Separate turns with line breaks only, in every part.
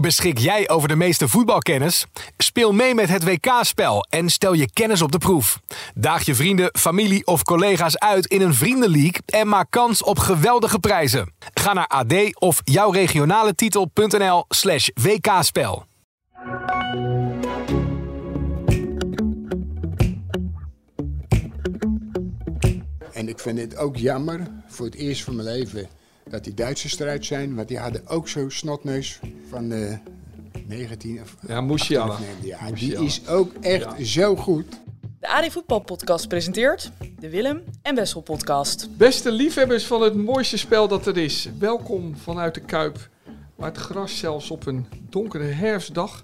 Beschik jij over de meeste voetbalkennis? Speel mee met het WK-spel en stel je kennis op de proef. Daag je vrienden, familie of collega's uit in een vriendenleague en maak kans op geweldige prijzen. Ga naar ad of jouwregionaletitel.nl slash WK-spel.
En ik vind het ook jammer, voor het eerst van mijn leven, dat die Duitsers eruit zijn. Want die hadden ook zo'n snotneus van de 19... of
Ja, Musiala.
18 Ja, die
Musiala.
is ook echt zo goed.
De AD Voetbal Podcast presenteert de Willem en Wessel Podcast.
Beste liefhebbers van het mooiste spel dat er is. Welkom vanuit de Kuip, waar het gras zelfs op een donkere herfstdag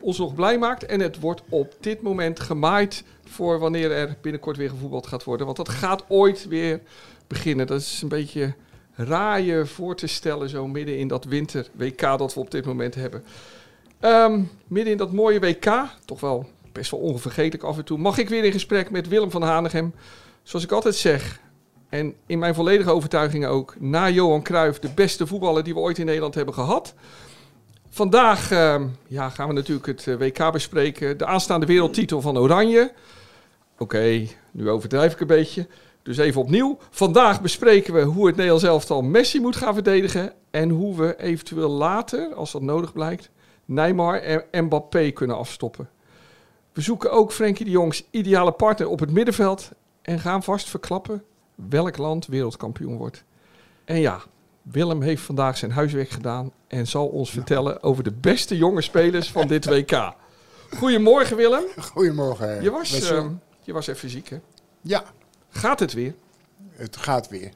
ons nog blij maakt. En het wordt op dit moment gemaaid voor wanneer er binnenkort weer gevoetbald gaat worden. Want dat gaat ooit weer beginnen. Dat is een beetje raar je voor te stellen zo midden in dat winter WK dat we op dit moment hebben. Ehm, midden in dat mooie WK, toch wel best wel onvergetelijk af en toe, mag ik weer in gesprek met Willem van Hanegem. Zoals ik altijd zeg, en in mijn volledige overtuiging ook, na Johan Cruijff, de beste voetballer die we ooit in Nederland hebben gehad. Vandaag ehm, ja, gaan we natuurlijk het eh, WK bespreken. De aanstaande wereldtitel van Oranje. Oké, nu overdrijf ik een beetje. Dus even opnieuw. Vandaag bespreken we hoe het Nederlands elftal Messi moet gaan verdedigen. En hoe we eventueel later, als dat nodig blijkt, Neymar en Mbappé kunnen afstoppen. We zoeken ook Frenkie de Jongs ideale partner op het middenveld. En gaan vast verklappen welk land wereldkampioen wordt. En ja, Willem heeft vandaag zijn huiswerk gedaan en zal ons vertellen over de beste jonge spelers van dit WK. Goedemorgen Willem.
Goedemorgen.
Je was,
Wessel.
ehm, je was even ziek hè?
Ja,
Gaat het weer?
het gaat weer.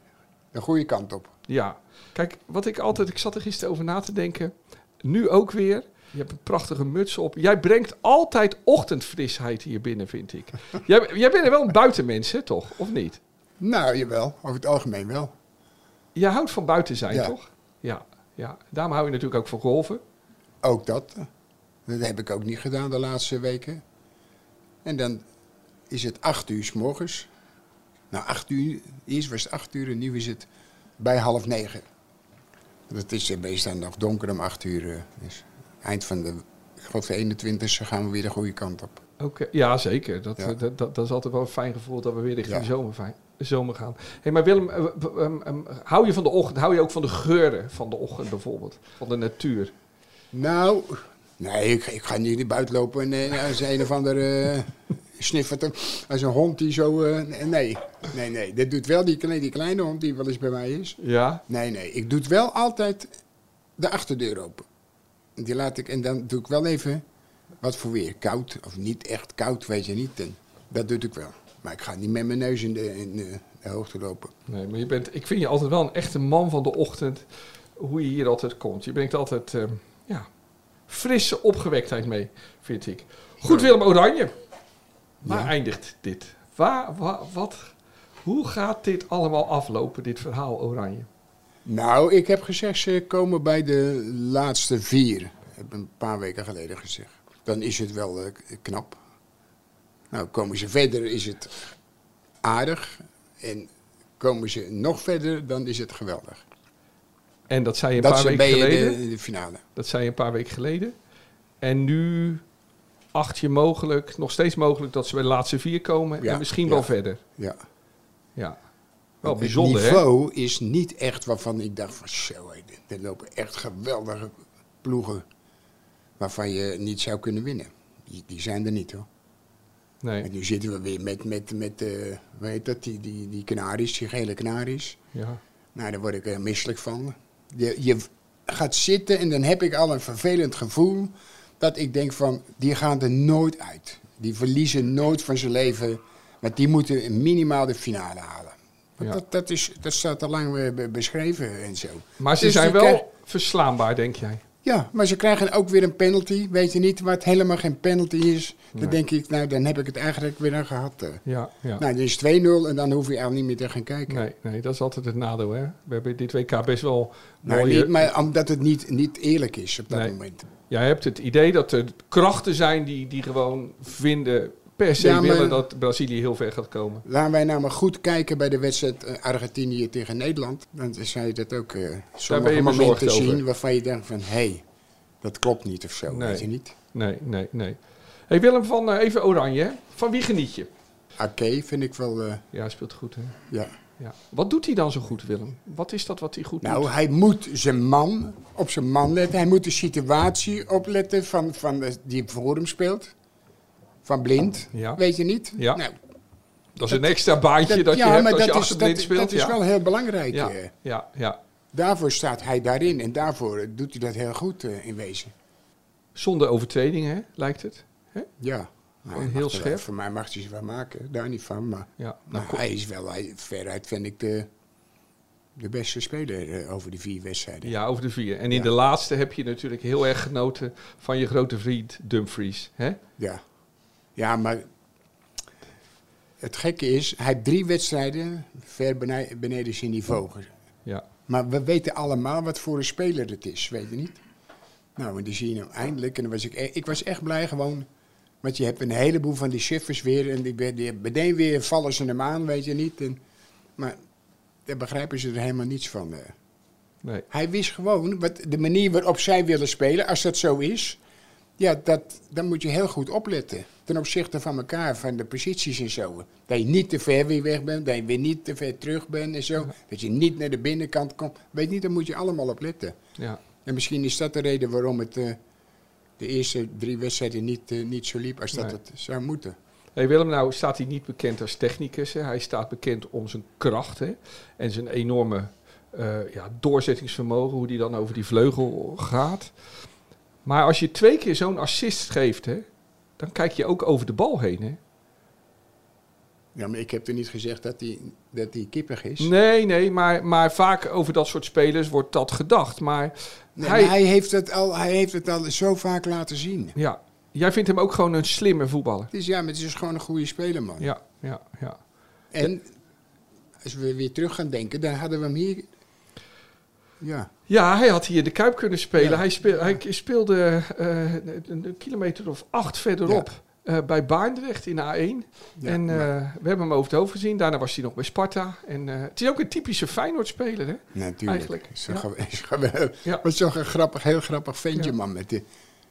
De goede kant op.
Ja. Kijk, wat ik altijd, ik zat er gisteren over na te denken. Nu ook weer. Je hebt een prachtige muts op. Jij brengt altijd ochtendfrisheid hier binnen, vind ik. Jij, jij bent wel een buitenmens, hè, toch? Of niet?
Nou, jawel. Over het algemeen wel.
Jij houdt van buiten zijn,
Ja.
toch? Ja, ja. Daarom hou je natuurlijk ook van golven.
Ook dat. Dat heb ik ook niet gedaan de laatste weken. En dan is het acht uur s morgens. Nou, acht uur. Eerst was het acht uur en nu is het bij half negen. Dat is eh, meestal nog donker om acht uur. eh, Dus eind van de, ik geloof de 21ste gaan we weer de goede kant op.
Oké, Ja, zeker. Dat,
Ja.
Dat, dat, dat is altijd wel een fijn gevoel dat we weer richting
Ja.
zomer, fijn- zomer gaan. hey, maar Willem, eh, w- w- ehm, ehm, hou je van de ochtend? Hou je ook van de geuren van de ochtend bijvoorbeeld? Van de natuur?
Nou, nee, ik, ik ga niet naar buiten lopen en eh, als een of ander eh, sniffert. hem, Als een hond die zo... eh, nee, nee, nee. Dat doet wel die, kle- die kleine hond die wel eens bij mij is.
Ja.
Nee, nee. Ik doe het wel altijd de achterdeur open. Die laat ik, en dan doe ik wel even wat voor weer. Koud of niet echt koud, weet je niet. En dat doe ik wel. Maar ik ga niet met mijn neus in de, in de, de hoogte lopen.
Nee, maar je bent, ik vind je altijd wel een echte man van de ochtend. Hoe je hier altijd komt. Je brengt altijd ehm, ja, frisse opgewektheid mee, vind ik. Goed, Willem Oranje. Waar eindigt dit? Waar, wa- wat, hoe gaat dit allemaal aflopen, dit verhaal Oranje?
Nou, ik heb gezegd, ze komen bij de laatste vier. Heb een paar weken geleden gezegd. Dan is het wel eh, k- knap. Nou, komen ze verder, is het aardig. En komen ze nog verder, dan is het geweldig.
En dat zei je een
dat
paar
ze
weken
bij
geleden.
de, de finale.
Dat zei je een paar weken geleden. En nu acht je mogelijk, nog steeds mogelijk, dat ze bij de laatste vier komen.
Ja,
en misschien
ja.
wel verder.
Ja.
Ja. Wel
Want
Oh, bijzonder,
het
hè?
niveau is niet echt waarvan ik dacht van zo, hé, er lopen echt geweldige ploegen waarvan je niet zou kunnen winnen. Die, die zijn er niet hoor. En
Nee.
nu zitten we weer met, met, met eh hoe heet dat, die, die, die kanaries, die gele kanaries.
Ja.
Nou, daar word ik er misselijk van. Je, je gaat zitten en dan heb ik al een vervelend gevoel dat ik denk van, die gaan er nooit uit. Die verliezen nooit van zijn leven, want die moeten minimaal de finale halen. Want
Ja.
Dat, dat, is, dat staat al lang eh, be- beschreven en zo.
Maar ze
Dus
zijn
die
wel
krijg-
verslaanbaar, denk jij.
ja, maar ze krijgen ook weer een penalty. Weet je niet, wat helemaal geen penalty is. Dan denk ik, nou, dan heb ik het eigenlijk weer aan gehad. eh.
Ja, ja.
Nou, dan is 2-0 en dan hoef je eigenlijk niet meer te gaan kijken.
Nee, nee, dat is altijd het nadeel, hè? We hebben dit WK best wel
Nou,
mooie...
niet, maar omdat het niet, niet eerlijk is op dat
Nee.
moment.
Jij hebt het idee dat er krachten zijn die, die gewoon vinden, per se
Ja, maar-
willen dat Brazilië heel ver gaat komen.
Laten wij nou maar goed kijken bij de wedstrijd eh, Argentinië tegen Nederland. Dan zou je dat ook eh sommige
ben je bezorgd
momenten zien
over.
waarvan je denkt van... hé, hey, dat klopt niet of zo,
Nee.
weet je niet?
Nee, nee, nee. Hey Willem, van eh, even Oranje. hè? Van wie geniet je?
Oké, vind ik wel, eh,
Ja, hij speelt goed, hè?
ja.
Ja. Wat doet hij dan zo goed, Willem? Wat is dat wat hij goed
Nou,
doet?
hij moet zijn man op zijn man letten. Hij moet de situatie opletten van, van de- die voor hem speelt. Van blind,
Ja.
weet je niet?
Ja.
Nou,
Dat is een extra baantje dat, je
ja,
hebt
maar
als je
dat, is,
achter blind
dat,
speelt.
dat is
ja.
wel heel belangrijk.
ja.
eh.
ja, ja.
Daarvoor staat hij daarin en daarvoor eh, doet hij dat heel goed eh, in wezen.
Zonder overtreding, hè? Lijkt het. Hè?
Ja. Nou, hij
heel
mag er wel-
scherp.
Voor mij mag hij ze wel maken, daar niet van. Maar,
Ja.
maar
Nou, kom-
hij is wel, hij, veruit vind ik de, de beste speler eh, over die vier wedstrijden.
ja, over de vier. En in
Ja.
de laatste heb je natuurlijk heel erg genoten van je grote vriend Dumfries. Hè?
Ja. Ja, maar het gekke is, hij heeft drie wedstrijden ver benij- beneden zijn niveau. ge-
Ja.
Maar we weten allemaal wat voor een speler het is, weet je niet? Nou, en die zie je nou eindelijk. En dan was ik, e- ik was echt blij gewoon. Want je hebt een heleboel van die chiffers weer. En die, be- die meteen weer vallen ze hem aan, weet je niet. En, maar daar begrijpen ze er helemaal niets van. eh.
Nee.
Hij wist gewoon wat, de manier waarop zij willen spelen, als dat zo is. Ja, dat, dan moet je heel goed opletten. Ten opzichte van elkaar, van de posities en zo. Dat je niet te ver weer weg bent, dat je weer niet te ver terug bent en zo. Dat je niet naar de binnenkant komt. Weet niet, daar moet je allemaal op letten.
Ja.
En misschien is dat de reden waarom het eh, de eerste drie wedstrijden niet, eh, niet zo liep als dat
Nee.
het zou moeten.
Hey Willem, nou staat hij niet bekend als technicus. Hè? Hij staat bekend om zijn kracht hè? en zijn enorme eh, ja, doorzettingsvermogen, hoe die dan over die vleugel gaat. Maar als je twee keer zo'n assist geeft, hè, dan kijk je ook over de bal heen. Hè?
Ja, maar ik heb er niet gezegd dat hij dat die kippig is.
Nee, nee, maar, maar vaak over dat soort spelers wordt dat gedacht. Maar
Nee,
hij,
maar hij, heeft het al, hij heeft het al zo vaak laten zien.
ja, jij vindt hem ook gewoon een slimme voetballer.
Het is, Dus ja, maar het is gewoon een goede speler, man.
Ja, ja, ja.
En als we weer terug gaan denken, dan hadden we hem hier. Ja,
Ja, hij had hier de Kuip kunnen spelen.
Ja.
Hij, speel- hij k- speelde eh, een, een kilometer of acht verderop eh, bij Baandrecht in A1.
Ja,
en eh,
maar-
we hebben hem over het hoofd gezien. Daarna was hij nog bij Sparta. En, eh, het is ook een typische Feyenoord-speler, hè?
natuurlijk.
Eigenlijk,
Is een
ja.
gew- is geweldig.
Ja.
Wat zo'n grappig, heel grappig ventje,
Ja.
man. Met, de,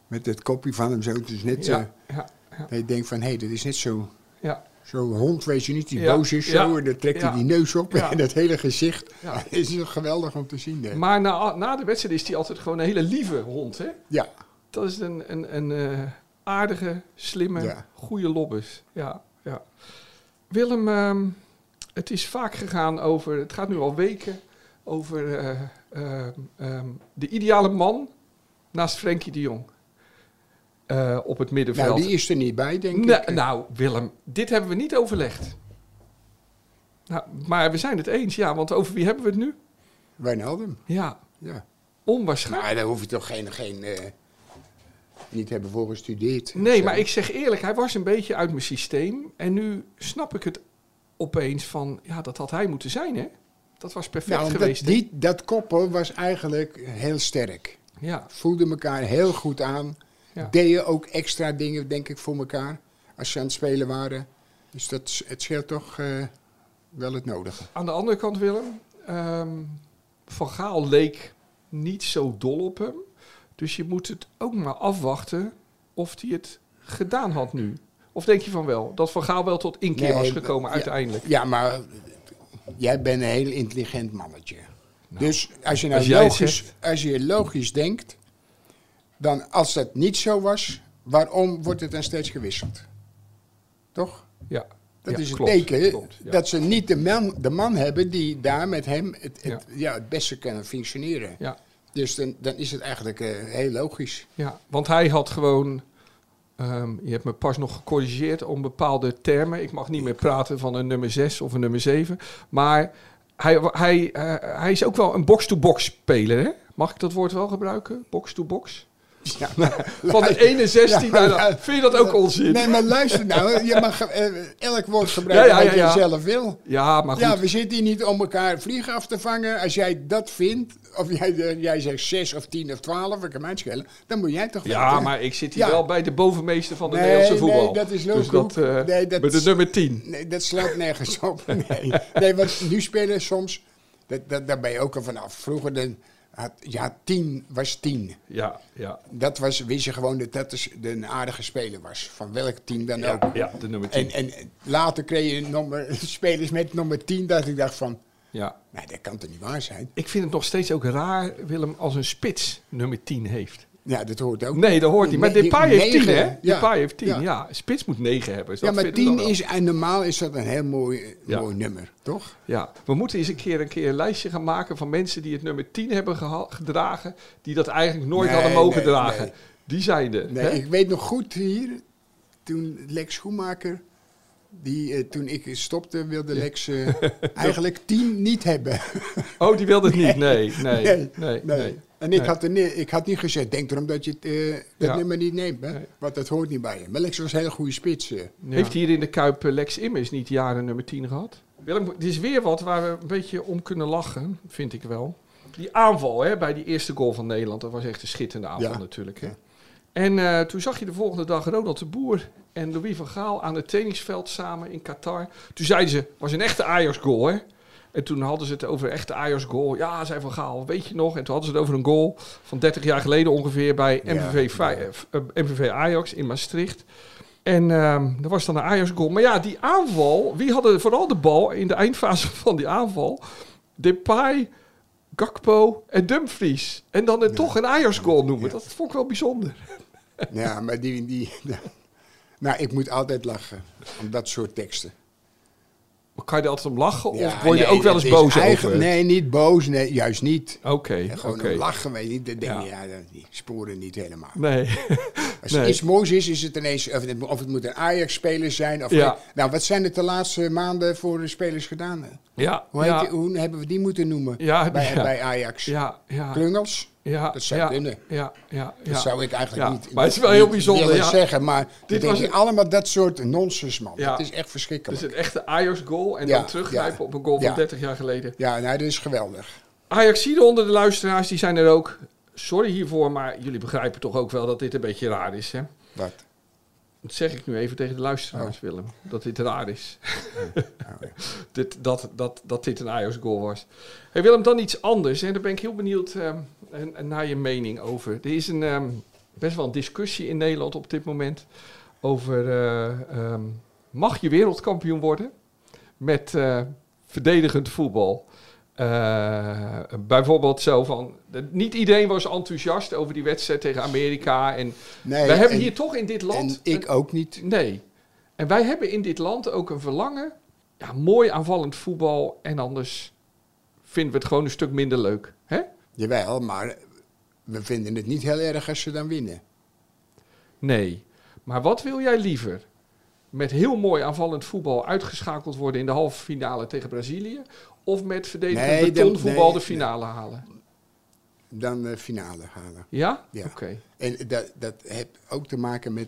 met het kopje van hem zo. Het is net zo.
Ja, ja, ja.
Dat je denkt van, hé, dat is net zo.
ja.
Zo'n hond, weet je niet, die
Ja,
boos is
ja,
zo. En dan trekt
ja.
hij die neus op
Ja.
en dat hele gezicht.
Ja.
Het is toch geweldig om te zien. hè?
Maar na, na de wedstrijd is hij altijd gewoon een hele lieve hond, hè?
ja,
Dat is een, een, een eh, aardige, slimme,
Ja.
goede lobbes. Ja, ja. Willem, ehm, het is vaak gegaan over, het gaat nu al weken, over eh, ehm, ehm, de ideale man naast Frenkie de Jong eh, op het middenveld.
nou, die is er niet bij, denk
Na-
ik.
nou, Willem, dit hebben we niet overlegd. Nou, maar we zijn het eens, ja, want over wie hebben we het nu?
Wijnaldum,
Ja,
ja.
onwaarschijnlijk.
Maar daar hoef je toch geen... geen eh, niet hebben voor gestudeerd.
Nee,
Zo.
maar ik zeg eerlijk, hij was een beetje uit mijn systeem. En nu snap ik het opeens van, ja, dat had hij moeten zijn, hè? Dat was perfect
Nou, dat,
geweest. hè?
die, dat koppel was eigenlijk heel sterk.
Ja,
Voelden elkaar heel goed aan.
Ja.
Deden ook extra dingen, denk ik, voor elkaar. Als ze aan het spelen waren. Dus dat, s- het scheelt toch eh, wel het nodige.
aan de andere kant, Willem, ehm, Van Gaal leek niet zo dol op hem. Dus je moet het ook maar afwachten of hij het gedaan had nu. Of denk je van wel, dat Van Gaal wel tot inkeer was
Nee,
gekomen
ja.
uiteindelijk?
Ja, maar eh, jij bent een heel intelligent mannetje. dus als je, nou
als jij het
logisch,
zegt.
als je logisch denkt, dan als dat niet zo was, waarom wordt het dan steeds gewisseld? Toch?
Ja.
Dat
Ja,
is een
klopt,
teken
klopt, ja.
dat ze niet de man, de man hebben die daar met hem het, het,
Ja.
ja. het beste kan functioneren.
ja.
Dus dan, dan is het eigenlijk eh, heel logisch.
Ja, want hij had gewoon. ehm, je hebt me pas nog gecorrigeerd om bepaalde termen. Ik mag niet meer praten van een nummer 6 of een nummer 7. Maar hij, hij, eh, hij is ook wel een box-to-box speler. Hè? Mag ik dat woord wel gebruiken? Box-to-box?
Ja,
Van de ene 16 naar de... Vind je dat ook onzin?
Nee, maar luister nou. Je mag eh, elk woord gebruiken
Ja, ja, ja,
wat je
ja.
zelf wil.
Ja, maar goed.
Ja, we zitten hier niet om elkaar vliegen af te vangen. Als jij dat vindt, of jij, eh, jij zegt 6 of 10 of 12, ik kan mij het schelen, dan moet jij toch
Ja,
weten.
maar ik zit hier
Ja.
wel bij de bovenmeester van de
Nee,
Nederlandse
nee,
voetbal.
dat is
Dus
lulkoek.
dat, eh,
Nee, dat
Met de
is-
nummer 10.
Nee, dat slaat nergens op. Nee, nee want nu spelen soms, dat, dat, daar ben je ook al vanaf. Vroeger dan had, ja, 10 was 10.
Ja, ja.
Dat was, wist je gewoon dat dat dus een aardige speler was. Van welk team dan ook.
Ja, ja, de nummer 10.
En, en later kreeg je nummer, spelers met nummer 10 dat ik dacht van,
ja.
nee, dat kan toch niet waar zijn?
Ik vind het nog steeds ook raar, Willem, als een spits nummer 10 heeft.
Ja, dat hoort ook.
Nee, dat hoort niet. Maar
Nee,
Depay heeft 10,
negen,
hè?
ja.
Depay heeft 10, ja. Een spits moet 9 hebben. Dus
Ja,
dat
maar
vind ik dan
10
wel.
is, en normaal is dat een heel mooi,
Ja.
mooi nummer, toch?
Ja, we moeten eens een keer, een keer een lijstje gaan maken van mensen die het nummer 10 hebben geha- gedragen, die dat eigenlijk nooit
Nee,
hadden mogen
nee,
dragen.
nee.
Die zijn er.
Nee,
hè?
ik weet nog goed hier, toen Lex Schoenmaker, die, eh, toen ik stopte, wilde Lex eh, eigenlijk 10 niet hebben.
Oh, die wilde het niet. Nee, nee, nee. nee,
En ik,
Nee.
had er ni- ik had niet gezegd, denk erom dat je het, eh, dat
Ja.
nummer niet neemt, hè?
Nee.
want dat hoort niet bij je. Maar Lex was een hele goede spits. eh.
Ja. Heeft hier in de Kuip eh, Lex Immers niet jaren nummer 10 gehad? Willem, dit is weer wat waar we een beetje om kunnen lachen, vind ik wel. Die aanval hè, bij die eerste goal van Nederland, dat was echt een schitterende aanval
Ja.
natuurlijk. Hè.
Ja.
En eh, toen zag je de volgende dag Ronald de Boer en Louis van Gaal aan het trainingsveld samen in Qatar. Toen zeiden ze, was een echte Ajax-goal hè. En toen hadden ze het over echte Ajax-goal. Ja, zei Van Gaal, weet je nog? En toen hadden ze het over een goal van 30 jaar geleden ongeveer bij
Ja,
MVV, Fey- eh, F- eh, MVV Ajax in Maastricht. En ehm dat was dan een Ajax-goal. Maar ja, die aanval, wie hadden vooral de bal in de eindfase van die aanval? Depay, Gakpo en Dumfries. En dan het toch een Ajax-goal noemen. Dat vond ik wel bijzonder.
Ja, maar die... die nou, ik moet altijd lachen om dat soort teksten.
Maar kan je er altijd om lachen?
Ja,
of word je
nee,
ook wel
dat
eens
is
boos
eigenlijk-
over?
Nee, niet boos, nee, juist niet.
Oké, oké.
Gewoon om lachen, weet je niet. Dan denk
Ja.
je, ja, dat- die sporen niet helemaal.
Nee.
Als
nee.
het iets moois is, is het ineens... Of het, of het moet een Ajax-speler zijn. Of
Ja.
nou, wat zijn het de laatste maanden voor de spelers gedaan?
Ja,
Hoe,
ja,
heet die- hoe hebben we die moeten noemen
Ja,
bij,
ja.
bij Ajax?
ja, ja,
Klungels?
ja,
dat zou
ja,
kunnen.
Ja, ja, ja.
Dat zou ik eigenlijk
Ja,
niet...
maar het is wel heel
niet
bijzonder,
willen
ja.
zeggen, maar dit denk
was
je
het-
allemaal dat soort nonsens, man.
Ja.
Dat is echt
Dus
verschrikkelijk.
een echte Ajax-goal en
Ja,
dan teruggrijpen
ja.
op een goal van
Ja.
30 jaar geleden.
Ja, nou, dat is geweldig.
Ajaxiden onder de luisteraars, die zijn er ook. Sorry hiervoor, maar jullie begrijpen toch ook wel dat dit een beetje raar is, hè?
Wat?
Dat zeg ik nu even tegen de
Oh.
luisteraars, Willem. Dat dit raar is. dit, dat, dat, dat dit een Ajax-goal was. Hey Willem, dan iets anders. En daar ben ik heel benieuwd ehm, en- en naar je mening over. Er is een, ehm, best wel een discussie in Nederland op dit moment... over eh, ehm, mag je wereldkampioen worden met eh, verdedigend voetbal? Eh, bijvoorbeeld zo van... Niet iedereen was enthousiast over die wedstrijd tegen Amerika... en
Nee,
we hebben
en-
hier toch in dit
En
land.
ik ook niet.
een- nee. En wij hebben in dit land ook een verlangen. Ja, mooi aanvallend voetbal. En anders vinden we het gewoon een stuk minder leuk. Hè?
Jawel, maar we vinden het niet heel erg als ze dan winnen.
Nee. Maar wat wil jij liever? Met heel mooi aanvallend voetbal uitgeschakeld worden in de halve finale tegen Brazilië? Of met verdedigend
Nee, dan-
betonvoetbal
nee,
de
nee.
finale halen?
Dan de finale halen.
Ja?
Ja.
Oké.
En dat, dat heeft ook te maken met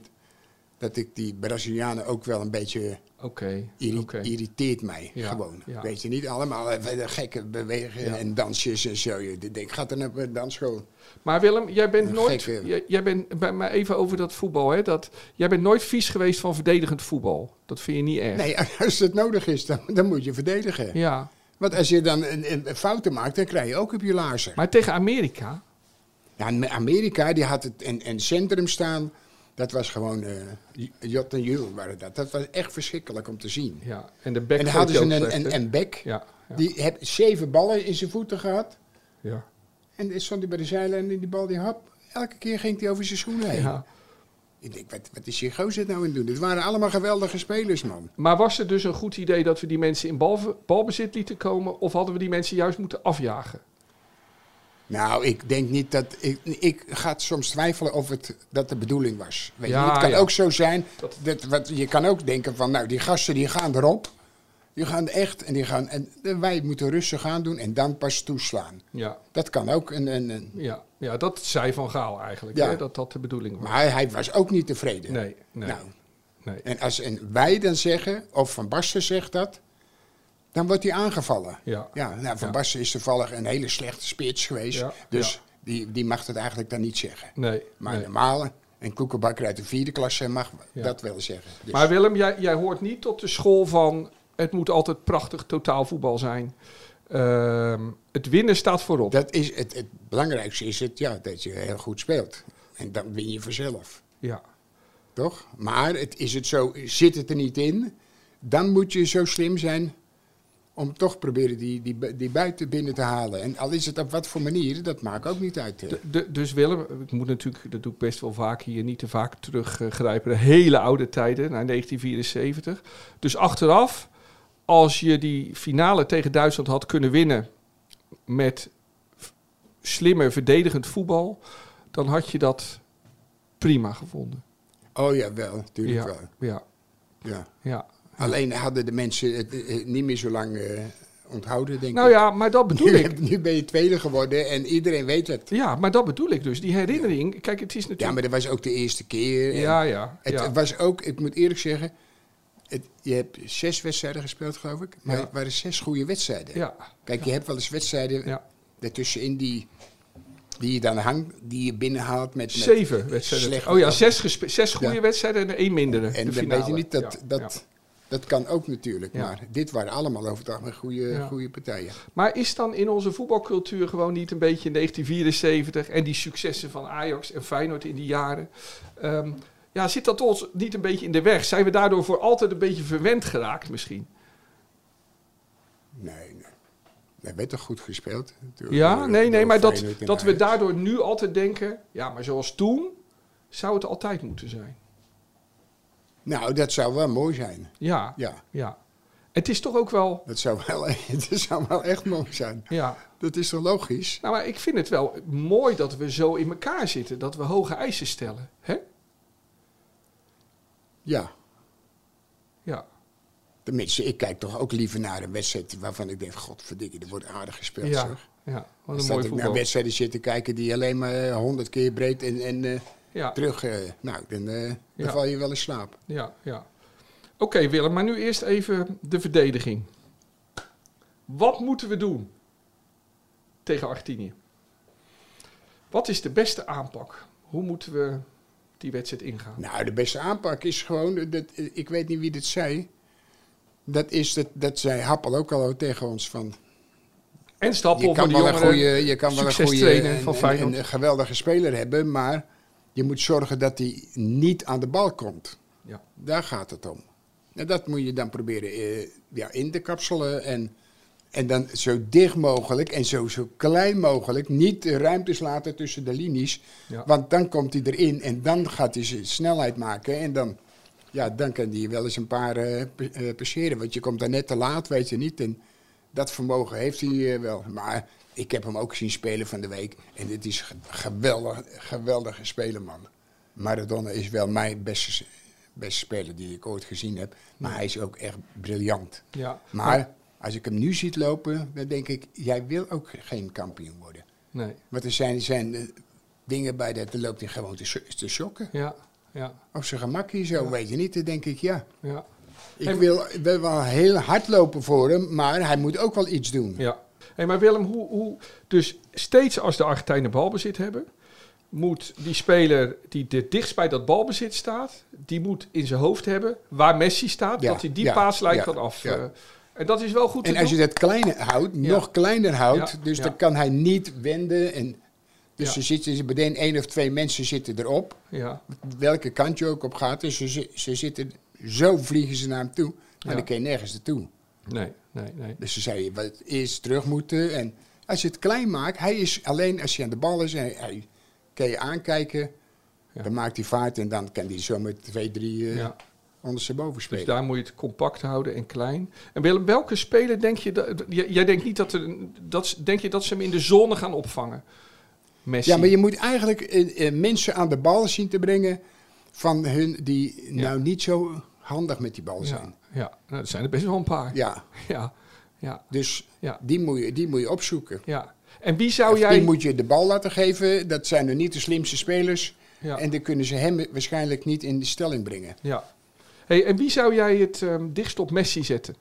dat ik die Brazilianen ook wel een beetje
Oké.
irri-
oké.
irriteert mij.
Ja,
Gewoon.
ja.
Weet je niet, allemaal eh, gekke bewegingen en dansjes en zo. Je denkt, gaat er naar een dansschool?
Maar Willem, jij bent
Een
nooit.
gek, Willem.
jij- Jij bent bij mij even over dat voetbal. Hè, dat, jij bent nooit vies geweest van verdedigend voetbal. Dat vind je niet erg.
Nee, als het nodig is, dan, dan moet je verdedigen.
Ja,
Want als je dan een, een- een fouten maakt, dan krijg je ook op je laarzen.
maar tegen Amerika.
Ja, in Amerika die had het een, een centrum staan. Dat was gewoon eh, j- jot en jul waren dat. Dat was echt verschrikkelijk om te zien.
Ja, en de bek.
en dan
vond
hadden
je
ze
ook
een,
slecht,
een,
hè?
een bek.
ja, ja,
Die heeft zeven ballen in zijn voeten gehad.
ja,
En dan stond hij bij de zijlijn en die bal die hap. Elke keer ging hij over zijn schoenen heen.
ja.
Ik denk, wat, wat is die gozer nou aan het doen? Het waren allemaal geweldige spelers, man.
Maar was het dus een goed idee dat we die mensen in balve- balbezit lieten komen? Of hadden we die mensen juist moeten afjagen?
Nou, ik denk niet dat... Ik, ik ga soms twijfelen of het dat de bedoeling was. Weet
Ja,
je? Het kan
ja.
ook zo zijn.
Dat-
Dat, wat, je kan ook denken van, nou, die gasten die gaan erop. Die gaan echt en die gaan... En wij moeten rustig aan doen en dan pas toeslaan.
Ja,
Dat kan ook een, een, een
ja. Ja, dat zei Van Gaal eigenlijk,
Ja.
hè, dat dat de bedoeling was.
Maar hij, hij was ook niet tevreden.
Nee, nee,
Nou,
nee.
en als en wij dan zeggen, of Van Basten zegt dat, dan wordt hij aangevallen.
Ja.
ja nou, Van
Ja.
Basten is toevallig een hele slechte spits geweest.
Ja,
Dus
ja.
Die, die mag dat eigenlijk dan niet zeggen.
Nee,
Maar
nee.
normaal, een koekenbakker uit de vierde klasse mag
Ja.
dat wel zeggen. Dus-
Maar Willem, jij, jij hoort niet tot de school van het moet altijd prachtig totaalvoetbal zijn. Ehm, het winnen staat voorop.
Dat is het, het belangrijkste is het, ja, dat je heel goed speelt. En dan win je vanzelf,
Ja.
toch? Maar het, is het zo, zit het er niet in, dan moet je zo slim zijn om toch proberen die, die, bu- die buiten binnen te halen. En al is het op wat voor manier, dat maakt ook niet uit. eh.
D- d- dus Willem, ik moet natuurlijk, dat doe ik best wel vaak hier, niet te vaak teruggrijpen. De hele oude tijden, naar 1974. Dus achteraf, als je die finale tegen Duitsland had kunnen winnen met f- slimmer verdedigend voetbal, dan had je dat prima gevonden.
Oh ja, wel, natuurlijk
Ja,
wel.
ja,
Ja.
ja.
Alleen hadden de mensen het eh, eh, niet meer zo lang eh, onthouden, denk
Nou
ik.
ja, maar dat bedoel
nu,
ik.
heb- nu ben je tweede geworden en iedereen weet het.
Ja, maar dat bedoel ik dus. Die herinnering, kijk, het is
Ja,
natuurlijk...
maar dat was ook de eerste keer. en-
Ja, ja,
Het
ja.
was ook, ik moet eerlijk zeggen, het, je hebt zes wedstrijden gespeeld, geloof ik. Maar
Ja.
het waren zes goede wedstrijden.
Ja,
Kijk, je hebt wel eens wedstrijden
ja.
daartussenin die, die je dan hangt, die je binnenhaalt met... met
Zeven wedstrijden.
slecht-
oh ja, zes, gespe- zes goede
Ja.
wedstrijden en één mindere.
En
de
dan
finale.
weet je niet, dat,
Ja,
dat,
ja.
dat kan ook natuurlijk.
Ja.
Maar dit waren allemaal over het algemeen goede,
Ja.
goede partijen.
Maar is dan in onze voetbalcultuur gewoon niet een beetje 1974 en die successen van Ajax en Feyenoord in die jaren? ehm, ja, zit dat ons niet een beetje in de weg? Zijn we daardoor voor altijd een beetje verwend geraakt misschien?
Nee, nee. Wij werd toch goed gespeeld? Door-
Ja,
door-
nee, nee,
door
maar dat,
Feyenoord en
dat we
Ajax.
daardoor nu altijd denken, ja, maar zoals toen zou het altijd moeten zijn.
Nou, dat zou wel mooi zijn.
Ja, ja.
Ja,
Het is toch ook wel,
dat zou wel, dat zou wel echt mooi zijn.
ja,
Dat is toch logisch?
Nou, maar ik vind het wel mooi dat we zo in elkaar zitten, dat we hoge eisen stellen. Hè?
Ja,
Ja.
tenminste, ik kijk toch ook liever naar een wedstrijd waarvan ik denk: Godverdikke, er wordt aardig gespeeld.
Ja,
Zeg.
ja, wat
Dan
een
staat
mooi
ik naar
voetbal.
wedstrijden zitten kijken die alleen maar eh, honderd keer breed en, en eh,
Ja,
terug. eh, nou, dan, eh, dan
Ja.
val je wel in slaap.
ja, ja. Oké Willem, maar nu eerst even de verdediging. Wat moeten we doen tegen Argentinië? Wat is de beste aanpak? Hoe moeten we die wedstrijd ingaan?
Nou, de beste aanpak is gewoon, eh, dat, eh, ik weet niet wie dit zei. Dat is dat, dat zei Happel ook al tegen ons van.
En stappen
Je
voor
kan
de
wel een
jongeren.
goede, je kan wel een goede
succestrainer
en-
van
en-
Feyenoord.
en een geweldige speler hebben, maar je moet zorgen dat hij niet aan de bal komt.
Ja,
Daar gaat het om. En dat moet je dan proberen eh, ja, in te kapselen. En, en dan zo dicht mogelijk en zo, zo klein mogelijk. Niet de ruimtes laten tussen de linies.
ja.
Want dan komt hij erin en dan gaat hij zijn snelheid maken. En dan, ja, dan kan hij wel eens een paar eh, pe- eh, passeren. Want je komt daar net te laat, weet je niet. En dat vermogen heeft hij eh, wel. Maar ik heb hem ook zien spelen van de week. En dit is ge- geweldig, geweldige speler, man. Maradona is wel mijn beste, s- beste speler die ik ooit gezien heb. Maar hij is ook echt briljant.
ja.
Maar Eh, als ik hem nu ziet lopen, dan denk ik... jij wil ook geen kampioen worden.
Nee.
Want er zijn, zijn eh, dingen bij dat er loopt hij gewoon te, so- te shocken.
Ja, ja,
Op zijn gemak hier zo, weet je niet. Dan denk ik, ja,
ja.
ik
En-
wil, ik wil wel heel hard lopen voor hem, maar hij moet ook wel iets doen.
Ja. Hey, maar Willem, hoe, hoe, dus steeds als de Argentijnen balbezit hebben, moet die speler die het dichtst bij dat balbezit staat, die moet in zijn hoofd hebben waar Messi staat,
Ja,
dat hij die
ja,
paaslijn
ja,
kan af.
ja.
eh, en dat is wel goed
En
te
als je
doen.
dat kleiner houdt, nog kleiner houdt,
Ja,
dus
ja.
dan kan hij niet wenden. En, dus
Ja.
er zitten meteen één of twee mensen zitten erop,
Ja,
welke kant je ook op gaat. Dus ze, zi- ze zitten, zo vliegen ze naar hem toe, maar
Ja.
dan kun je nergens naartoe.
nee, nee, nee.
Dus ze zei, wat eerst terug moeten. En als je het klein maakt, hij is alleen als hij aan de bal is, hij, hij kan je aankijken.
Ja.
Dan maakt hij vaart en dan kan hij zo met twee, drie eh,
Ja.
ondersteboven
Dus
spelen.
daar moet je het compact houden en klein. En Willem, welke speler denk je dat, j- jij denkt niet dat, er, dat, denk je dat ze hem in de zone gaan opvangen? Messi.
ja, maar je moet eigenlijk eh, eh, mensen aan de bal zien te brengen van hun die nou niet zo handig met die bal zijn.
ja, ja. Nou, dat zijn er best wel een paar.
Ja,
ja, ja.
dus
Ja.
Die, moet je, die moet je opzoeken.
Ja. En wie zou
Of
jij...
Die moet je de bal laten geven. Dat zijn er niet de slimste spelers.
Ja.
En dan kunnen ze hem waarschijnlijk niet in de stelling brengen.
Ja. Hey, en wie zou jij het ehm, dichtst op Messi zetten?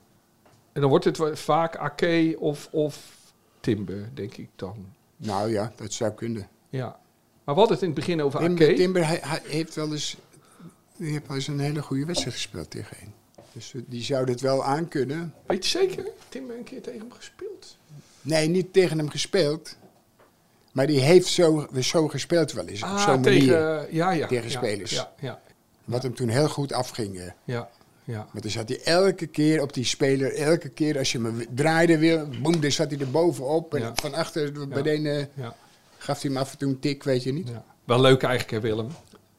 En dan wordt het wa- vaak Ake of, of Timber, denk ik dan.
Nou ja, dat zou kunnen.
Ja. Maar we hadden het in het begin over
Timber,
Ake.
Timber hij, hij heeft wel eens, die heeft wel eens een hele goede wedstrijd gespeeld tegen hem. Dus die zou dit wel aankunnen.
Weet je zeker? Timber een keer tegen hem gespeeld.
Nee, niet tegen hem gespeeld. Maar die heeft zo, zo gespeeld wel eens. op zo'n manier.
Ah, tegen, eh, ja, ja,
Tegen
ja,
spelers.
Ja, ja,
Wat hem toen heel goed afging. eh.
ja, ja.
Want dan zat hij elke keer op die speler. Elke keer als je hem w- draaide wil, boem, dan zat hij er bovenop. En
Ja.
van achter bij
Ja.
de ene
ja,
gaf hij hem af en toe een tik, weet je niet.
ja. Wel leuk eigenlijk, hè, Willem?
Ah.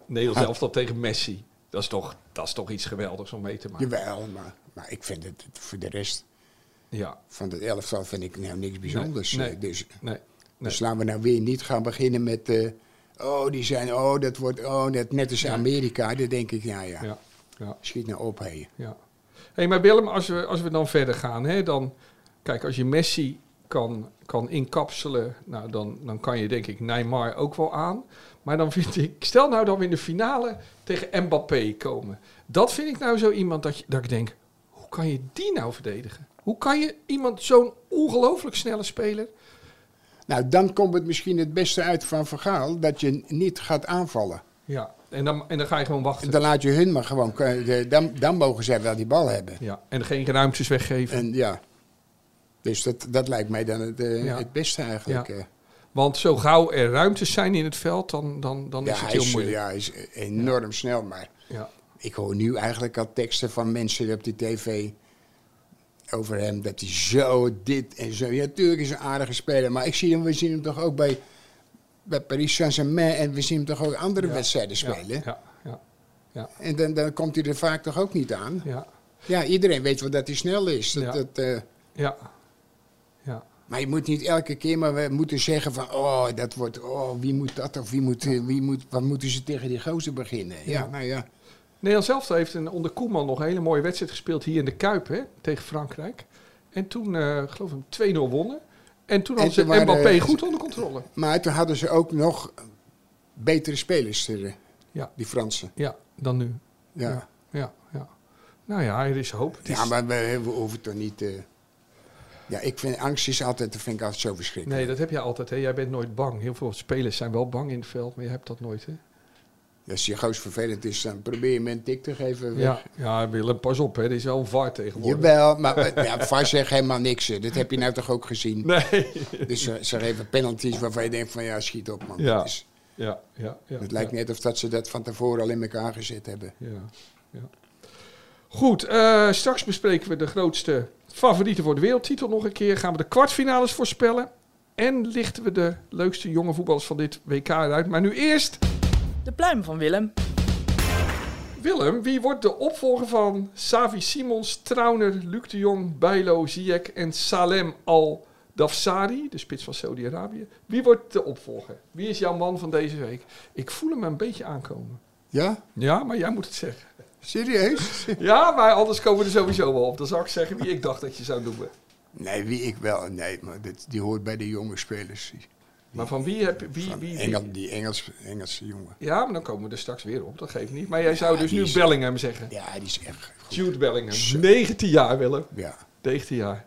Nederlands elftal tegen Messi. Dat is, toch, dat is toch iets geweldigs om mee te maken.
Jawel, maar, maar ik vind het voor de rest
Ja.
van het elftal vind ik nou niks bijzonders.
Nee,
eh, Dus,
Nee. nee.
dus laten we nou weer niet gaan beginnen met... eh, oh, die zijn, oh, dat wordt, oh, dat, net als Amerika. Dan denk ik, ja, ja,
Ja. Ja.
schiet nou op, hé.
Ja. hey, maar Willem, als we, als we dan verder gaan, hè, dan... Kijk, als je Messi kan, kan inkapselen, nou, dan, dan kan je denk ik Neymar ook wel aan. Maar dan vind ik... Stel nou dat we in de finale tegen Mbappé komen. Dat vind ik nou zo iemand dat, je, dat ik denk... Hoe kan je die nou verdedigen? Hoe kan je iemand, zo'n ongelooflijk snelle speler...
Nou, dan komt het misschien het beste uit van Vergaal dat je niet gaat aanvallen.
Ja, en dan, en dan ga je gewoon wachten.
Dan laat je hun maar gewoon, eh, dan, dan mogen zij wel die bal hebben.
Ja, en geen ruimtes weggeven.
En ja, dus dat, dat lijkt mij dan het, eh,
Ja.
het beste eigenlijk.
Ja.
eh. Ja,
Want zo gauw er ruimtes zijn in het veld, dan, dan, dan is het
hij,
heel
is, eh,
moeilijk.
ja, hij is enorm snel, maar
ja.
ik hoor nu eigenlijk al teksten van mensen op die tv over hem dat hij zo dit en zo. Ja, natuurlijk is hij een aardige speler, maar ik zie hem, we zien hem toch ook bij, bij Paris Saint-Germain en we zien hem toch ook andere
Ja.
wedstrijden
Ja,
spelen.
Ja, ja,
En dan, dan komt hij er vaak toch ook niet aan.
ja,
Ja, iedereen weet wel dat hij snel is. Dat,
Ja.
dat, eh,
ja. ja.
maar je moet niet elke keer maar we moeten zeggen van... Oh, dat wordt... Oh, wie moet dat? Of wie moet... eh, Wie moet wat moeten ze tegen die gozer beginnen? Ja,
Ja.
nou ja.
Nederland zelf heeft een, onder Koeman nog een hele mooie wedstrijd gespeeld hier in de Kuip hè, tegen Frankrijk. En toen, eh, geloof ik, 2-0 wonnen. En toen
En
hadden
toen
ze
waren-
Mbappé goed onder controle.
Maar toen hadden ze ook nog betere spelers, eh,
Ja.
die Fransen.
Ja, dan nu.
Ja, ja.
Ja, ja. ja. Nou ja, er is hoop. Het is-
maar we, we hoeven toch niet... eh, ja, ik vind angst is altijd... Dat vind ik altijd zo verschrikkelijk.
Nee, dat heb jij altijd. Hè. Jij bent nooit bang. Heel veel spelers zijn wel bang in het veld, maar je hebt dat nooit. Hè?
Als je goos vervelend is, dan probeer je me een tik te geven. weg.
Ja, ja, Willem, pas op. Hè. Er is wel een VAR tegenwoordig.
Jawel, maar ja, VAR zegt helemaal niks. eh. Dat heb je nou toch ook gezien?
Nee.
Dus ze, ze geven penalties waarvan je denkt van ja, schiet op man.
Ja.
Dat is-
Ja, ja, ja.
het lijkt net of dat ze dat van tevoren al in elkaar gezet hebben.
Ja, ja. Goed, eh, straks bespreken we de grootste favorieten voor de wereldtitel nog een keer. Gaan we de kwartfinales voorspellen. En lichten we de leukste jonge voetballers van dit WK eruit. Maar nu eerst,
De pluim van Willem.
Willem, wie wordt de opvolger van Savi Simons, Trauner, Luc de Jong, Bijlo, Ziyech en Salem Al-Dafsari, de spits van Saudi-Arabië? Wie wordt de opvolger? Wie is jouw man van deze week? Ik voel hem een beetje aankomen.
Ja?
Ja, maar jij moet het zeggen.
Serieus?
Ja, maar anders komen we er sowieso wel op. Dan zou ik zeggen wie ik dacht dat je zou noemen.
nee, wie ik wel. Nee, maar dit, die hoort bij de jonge spelers. Die-
Maar van wie heb je... Wie,
Van
wie, wie-
Engel, die Engels, Engelse jongen.
Ja, maar dan komen we er straks weer op. Dat geeft niet. Maar jij zou dus
die
nu
is-
Bellingham zeggen.
Ja, die is echt goed.
Jude Bellingham. 19 jaar, Willem.
Ja,
19 jaar.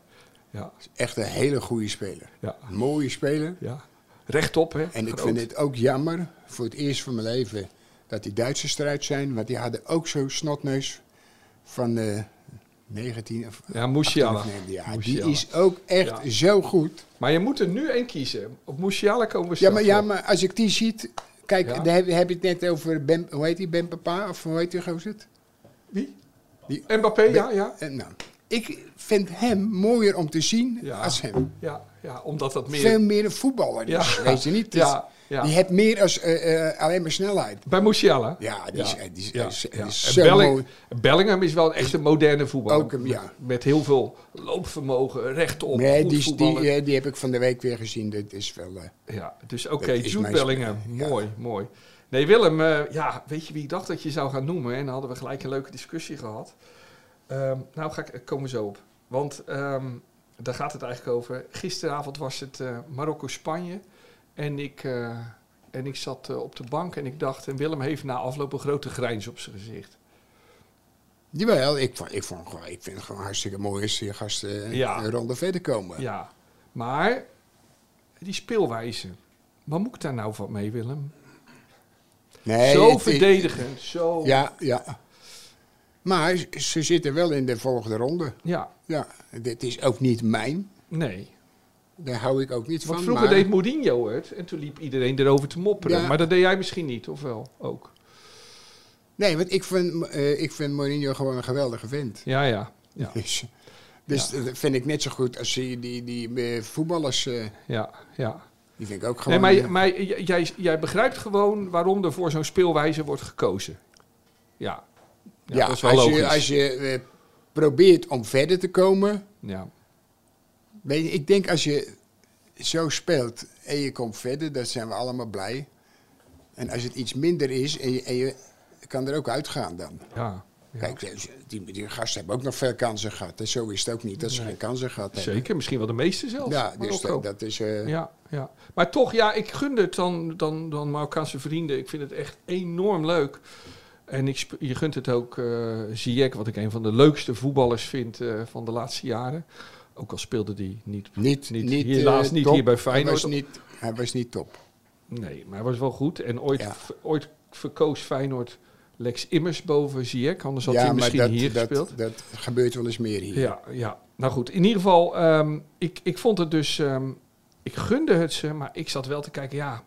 Ja,
is echt een hele goede speler.
ja,
Een Mooie speler.
ja. Rechtop, hè.
En ik
Groot.
vind het ook jammer, voor het eerst van mijn leven, dat die Duitsers eruit zijn. Want die hadden ook zo'n snotneus van eh 19 of
Ja, Musiala.
Ja, die
Musiala.
is ook echt
Ja.
zo goed.
Maar je moet er nu één kiezen. Op Musiala komen we
Ja
straks
maar, ja,
op.
maar als ik die ziet... Kijk,
Ja.
daar heb, heb je het net over Ben... Hoe heet die? Ben Papa? Of hoe heet die gozer? het?
Wie?
Die-
Mbappé, ja, ja.
Eh, nou, ik vind hem mooier om te zien
Ja.
als hem.
Ja, ja, omdat dat meer...
Veel meer een voetballer
Ja.
is, weet je niet? Dus
Ja, ja.
Die heeft meer als eh, eh, alleen maar snelheid.
Bij Musiala?
Ja, die is, eh, die is,
Ja,
is-
ja.
is
En
zo
Belling-
mooi.
Bellingham is wel een echte moderne voetballer.
Ook hem, ja.
met, met heel veel loopvermogen, rechtop,
Nee,
goed
die, is- die,
voetballer.
eh, die heb ik van de week weer gezien. Dat is wel... eh,
ja, dus oké,
dat is
Jude
mijn
Bellingham.
speler, ja.
Mooi, mooi. Nee, Willem, eh, ja, weet je wie ik dacht dat je zou gaan noemen? En dan hadden we eh, gelijk een leuke discussie gehad. Ehm, nou, ga ik, komen we zo op. Want ehm, Daar gaat het eigenlijk over. Gisteravond was het eh, Marokko-Spanje. En ik, eh, en ik zat eh, op de bank en ik dacht... En Willem heeft na afloop een grote grijns op zijn gezicht.
Jawel, ik, vond- ik, vond, gewoon- ik vind het gewoon hartstikke mooi als die gasten
Ja.
een ronde verder komen.
Ja, maar die speelwijze. Wat moet ik daar nou van mee, Willem?
Nee,
zo
het-
verdedigen, zo...
Ja, ja. Maar ze- ze zitten wel in de volgende ronde.
Ja,
Ja, dit is ook niet mijn.
nee.
Daar hou ik ook niet
Want
van.
vroeger
maar
deed Mourinho het en toen liep iedereen erover te mopperen.
Ja.
Maar dat deed jij misschien niet, of wel? Ook.
Nee, want ik vind, eh ik vind Mourinho gewoon een geweldige vent.
Ja, ja. Ja,
Dus, dus dat vind ik net zo goed als die, die, die eh, voetballers. eh,
ja. ja.
die vind ik ook
Nee,
gewoon...
maar,
eh,
maar j- jij, jij begrijpt gewoon waarom er voor zo'n speelwijze wordt gekozen. Ja. Ja,
ja,
dat is wel
als
logisch.
je, als je eh, probeert om verder te komen...
Ja.
Weet je, ik denk als je zo speelt en je komt verder, dan zijn we allemaal blij. En als het iets minder is en je, en je kan er ook uitgaan dan.
Ja. ja.
Kijk, die, die gasten hebben ook nog veel kansen gehad. En zo is het ook niet dat ze geen kansen gehad hebben.
Zeker, misschien wel de meeste zelfs.
Ja, dus
Marokko.
dat, dat is... eh,
Ja, ja. Maar toch, ja, ik gunde het dan, dan, dan Marokkaanse vrienden. Ik vind het echt enorm leuk. En ik, sp- je gunt het ook eh Ziyech, wat ik een van de leukste voetballers vind eh, van de laatste jaren. Ook al speelde die niet.
Niet,
Niet-
niet,
helaas
eh,
niet
top.
hier bij
Hij
Feyenoord.
was niet, hij was niet top.
Nee, maar hij was wel goed. En ooit,
Ja.
v- ooit verkoos Feyenoord Lex Immers boven Ziyech. Anders had
ja,
hij
maar
misschien
dat,
hier
dat,
gespeeld.
dat gebeurt wel eens meer hier.
Ja, ja. Nou goed, in ieder geval, ehm, ik, ik vond het dus... ehm, ik gunde het ze, maar ik zat wel te kijken, ja...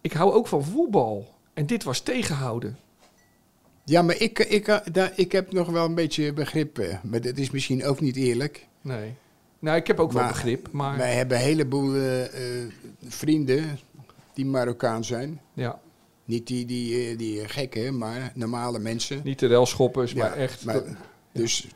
Ik hou ook van voetbal. En dit was tegenhouden.
Ja, maar ik, ik, eh, daar, ik heb nog wel een beetje begrip. eh, Maar dat is misschien ook niet eerlijk.
Nee. Nou, ik heb ook wel
Maar-
begrip, maar...
Wij hebben een heleboel eh, eh, vrienden die Marokkaan zijn.
Ja,
Niet die, die, eh, die gekken, maar normale mensen.
niet de relschoppers,
Ja,
maar echt...
maar- dus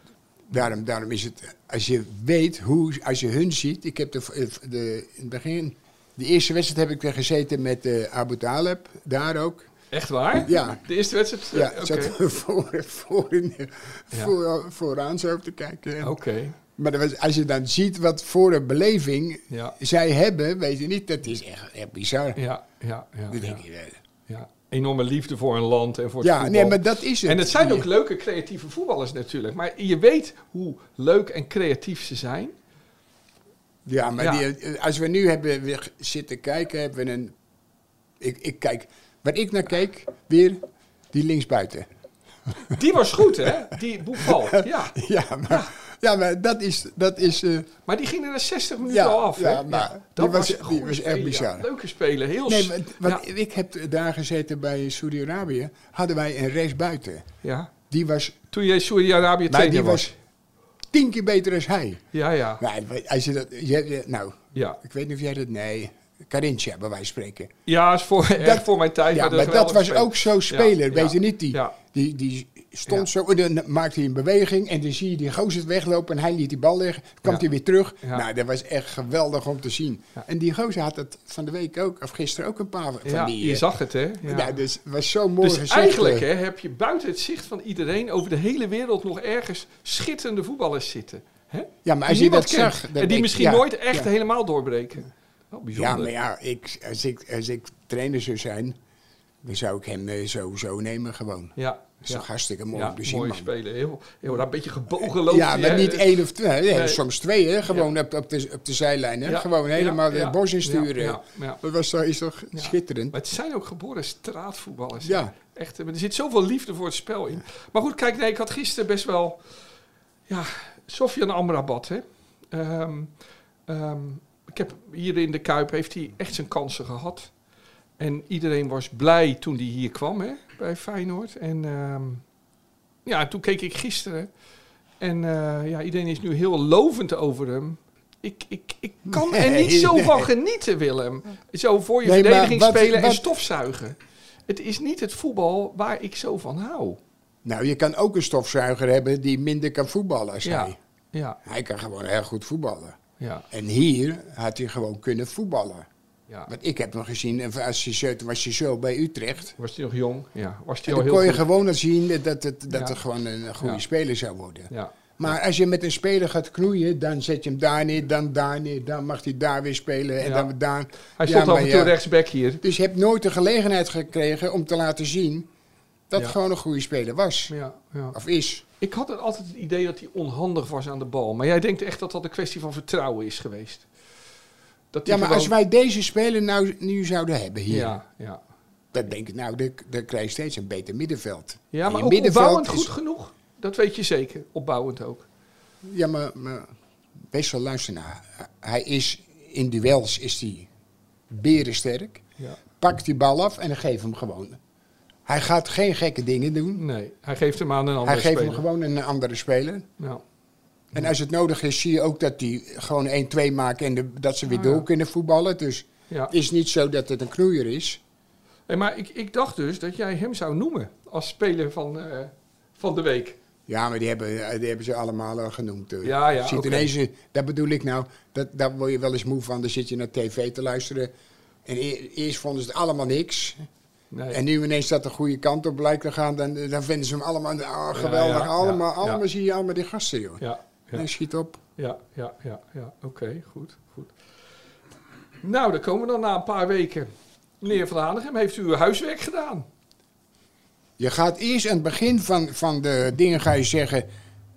daarom, daarom is het, als je weet hoe, als je hun ziet. Ik heb de, v- de, in het begin, de eerste wedstrijd heb ik er gezeten met eh, Abu Taleb, daar ook.
Echt waar?
Ja.
De eerste wedstrijd?
Ja,
Eh,
ik
Oké.
zat voor, voor,
Ja. Oh.
voor, eh, vooraan zo te kijken. En-
Oké.
Maar dat was- als je dan ziet wat voor een beleving
Ja.
zij hebben, weet je niet, dat is echt, echt bizar.
Ja, ja, ja.
Dan
ja,
denk je, eh,
ja. Enorme liefde voor een land en voor het
Ja,
voetbal.
nee, maar dat is het.
En het zijn ook leuke creatieve voetballers natuurlijk. Maar je weet hoe leuk en creatief ze zijn.
Ja, maar
Ja.
die- eh, als we nu hebben weer zitten kijken, hebben we een... Ik, ik kijk, waar ik naar kijk, weer die linksbuiten.
Die was goed, hè? Die Boefal. Ja.
Ja, maar, ja. maar dat is... Dat is eh,
Maar die ging er na 60 minuten
Ja,
al af. hè?
ja, maar die was-
een
die
goede
was echt
speler, ja.
bizar.
Leuke spelen. Heel
nee,
s-
maar, want
ja.
ik heb daar gezeten bij Saudi-Arabië, hadden wij een rechtsbuiten.
ja.
Die was...
Toen jij Saudi-Arabië
Maar die
trainer was.
was tien keer beter als hij.
Ja, ja.
Nou, als je dat... je- je- nou,
Ja,
ik weet niet of jij dat... Nee, Carinthia, bij wijze van spreken.
ja is voor, echt voor mijn tijd.
Ja,
een
maar dat
geweldige
was
speler.
ook zo'n speler,
Ja,
weet
ja,
je niet? Die,
ja.
die, die
Ja.
stond zo, en dan maakte hij een beweging en dan zie je die gozer weglopen en hij liet die bal liggen. Dan kwam
Ja.
hij weer terug.
Ja.
Nou, dat was echt geweldig om te zien.
Ja.
En die gozer had het van de week ook, of gisteren ook een paar van
Ja,
die...
je
eh,
zag het, hè? Ja.
Nou, dus het was zo mooi
dus
gezicht,
eigenlijk
eh.
hè, heb je buiten het zicht van iedereen over de hele wereld nog ergens schitterende voetballers zitten. Hè?
Ja, maar als
Die
je dat
niemand
zag...
kent.
dan
en
denk-
die misschien
ja,
nooit echt
ja.
helemaal doorbreken. Wel
Ja,
bijzonder.
maar ja, ik, als, ik, als ik trainer zou zijn, dan zou ik hem eh, sowieso nemen gewoon. Dat
Ja,
is
ja.
toch hartstikke mooi om te zien,
mooi
man.
spelen. Heel, heel daar een beetje gebogen lopen.
Ja, maar niet één of twee. Nee,
Eh, Nee.
Soms twee, hè? Gewoon op, op, de, op de zijlijn. Hè? Gewoon helemaal het bos insturen.
Ja, ja, ja.
Dat was toch, is toch
Ja.
schitterend?
Maar het zijn ook geboren straatvoetballers. hè.
Ja.
Echt, eh, maar er zit zoveel liefde voor het spel in. Maar goed, kijk, nee, ik had gisteren best wel... Ja, Sofian Amrabat, hè. Ehm, ehm, ik heb hier in de Kuip heeft hij echt zijn kansen gehad. En iedereen was blij toen hij hier kwam, hè, bij Feyenoord. En ehm, ja, toen keek ik gisteren. En eh, ja, iedereen is nu heel lovend over hem. Ik, ik, ik kan er niet
Nee,
zo
nee.
van genieten, Willem. Zo voor je
Nee, maar
verdediging
wat-
spelen en
wat-
stofzuigen. Het is niet het voetbal waar ik zo van hou.
Nou, je kan ook een stofzuiger hebben die minder kan voetballen als
Ja,
hij.
ja,
Hij kan gewoon heel goed voetballen.
ja,
En hier had hij gewoon kunnen voetballen.
ja.
Want ik heb nog gezien, eh, als hij zo- was hij zo bij Utrecht.
Was hij nog jong? Ja, was
En
hij al
dan
heel
kon je
goed?
gewoon al zien dat het, dat
Ja.
het gewoon een goede
Ja.
speler zou worden.
Ja,
Maar als je met een speler gaat knoeien, dan zet je hem daar neer, dan daar neer. Dan mag hij daar weer spelen en
Ja.
dan weer daar. Ja,
Hij stond af
maar
en toe
ja.
rechtsback hier.
Dus je hebt nooit de gelegenheid gekregen om te laten zien dat
Ja.
het gewoon een goede speler was.
Ja, ja.
Of is.
Ik had het altijd het idee dat hij onhandig was aan de bal. Maar jij denkt echt dat dat een kwestie van vertrouwen is geweest. Dat hij
Ja, maar
gewoon-
als wij deze speler nou nu zouden hebben hier,
Ja, ja.
dan denk ik, nou, dan, dan krijg je steeds een beter middenveld.
ja
En
maar
je
ook opbouwend
is-
goed genoeg. Dat weet je zeker. Opbouwend ook.
Ja, maar, maar best wel luister naar. Hij is in duels is hij berensterk.
Ja.
Pak die bal af en dan geef hem gewoon. Hij gaat geen gekke dingen doen.
Nee, hij geeft hem aan een andere
Hij geeft
speler.
hem gewoon een andere speler.
Ja.
En als het nodig is, zie je ook dat die gewoon 1-2 maken en de- dat ze
Ah,
weer door kunnen voetballen. Dus
Ja.
het is niet zo dat het een knoeier is.
Hey, maar ik, ik dacht dus dat jij hem zou noemen als speler van, eh, van de week.
Ja, maar die hebben, eh, die hebben ze allemaal al genoemd. hoor.
Ja, ja,
Zit
oké.
ineens, een- dat bedoel ik nou, dat, daar word je wel eens moe van. Dan zit je naar tv te luisteren. En e- eerst vonden ze het allemaal niks.
Nee.
En nu ineens dat de goede kant op blijkt te gaan, dan, eh, dan vinden ze hem allemaal ah, geweldig.
ja, ja,
allemaal,
ja.
allemaal zie je allemaal die gasten, joh.
Ja, ja.
En schiet op.
Ja, ja, ja, ja. Oké, goed, goed. Nou, dan komen we dan na een paar weken. Meneer Van Hanegem, heeft u uw huiswerk gedaan?
Je gaat eerst aan het begin van, van de dingen ga je zeggen,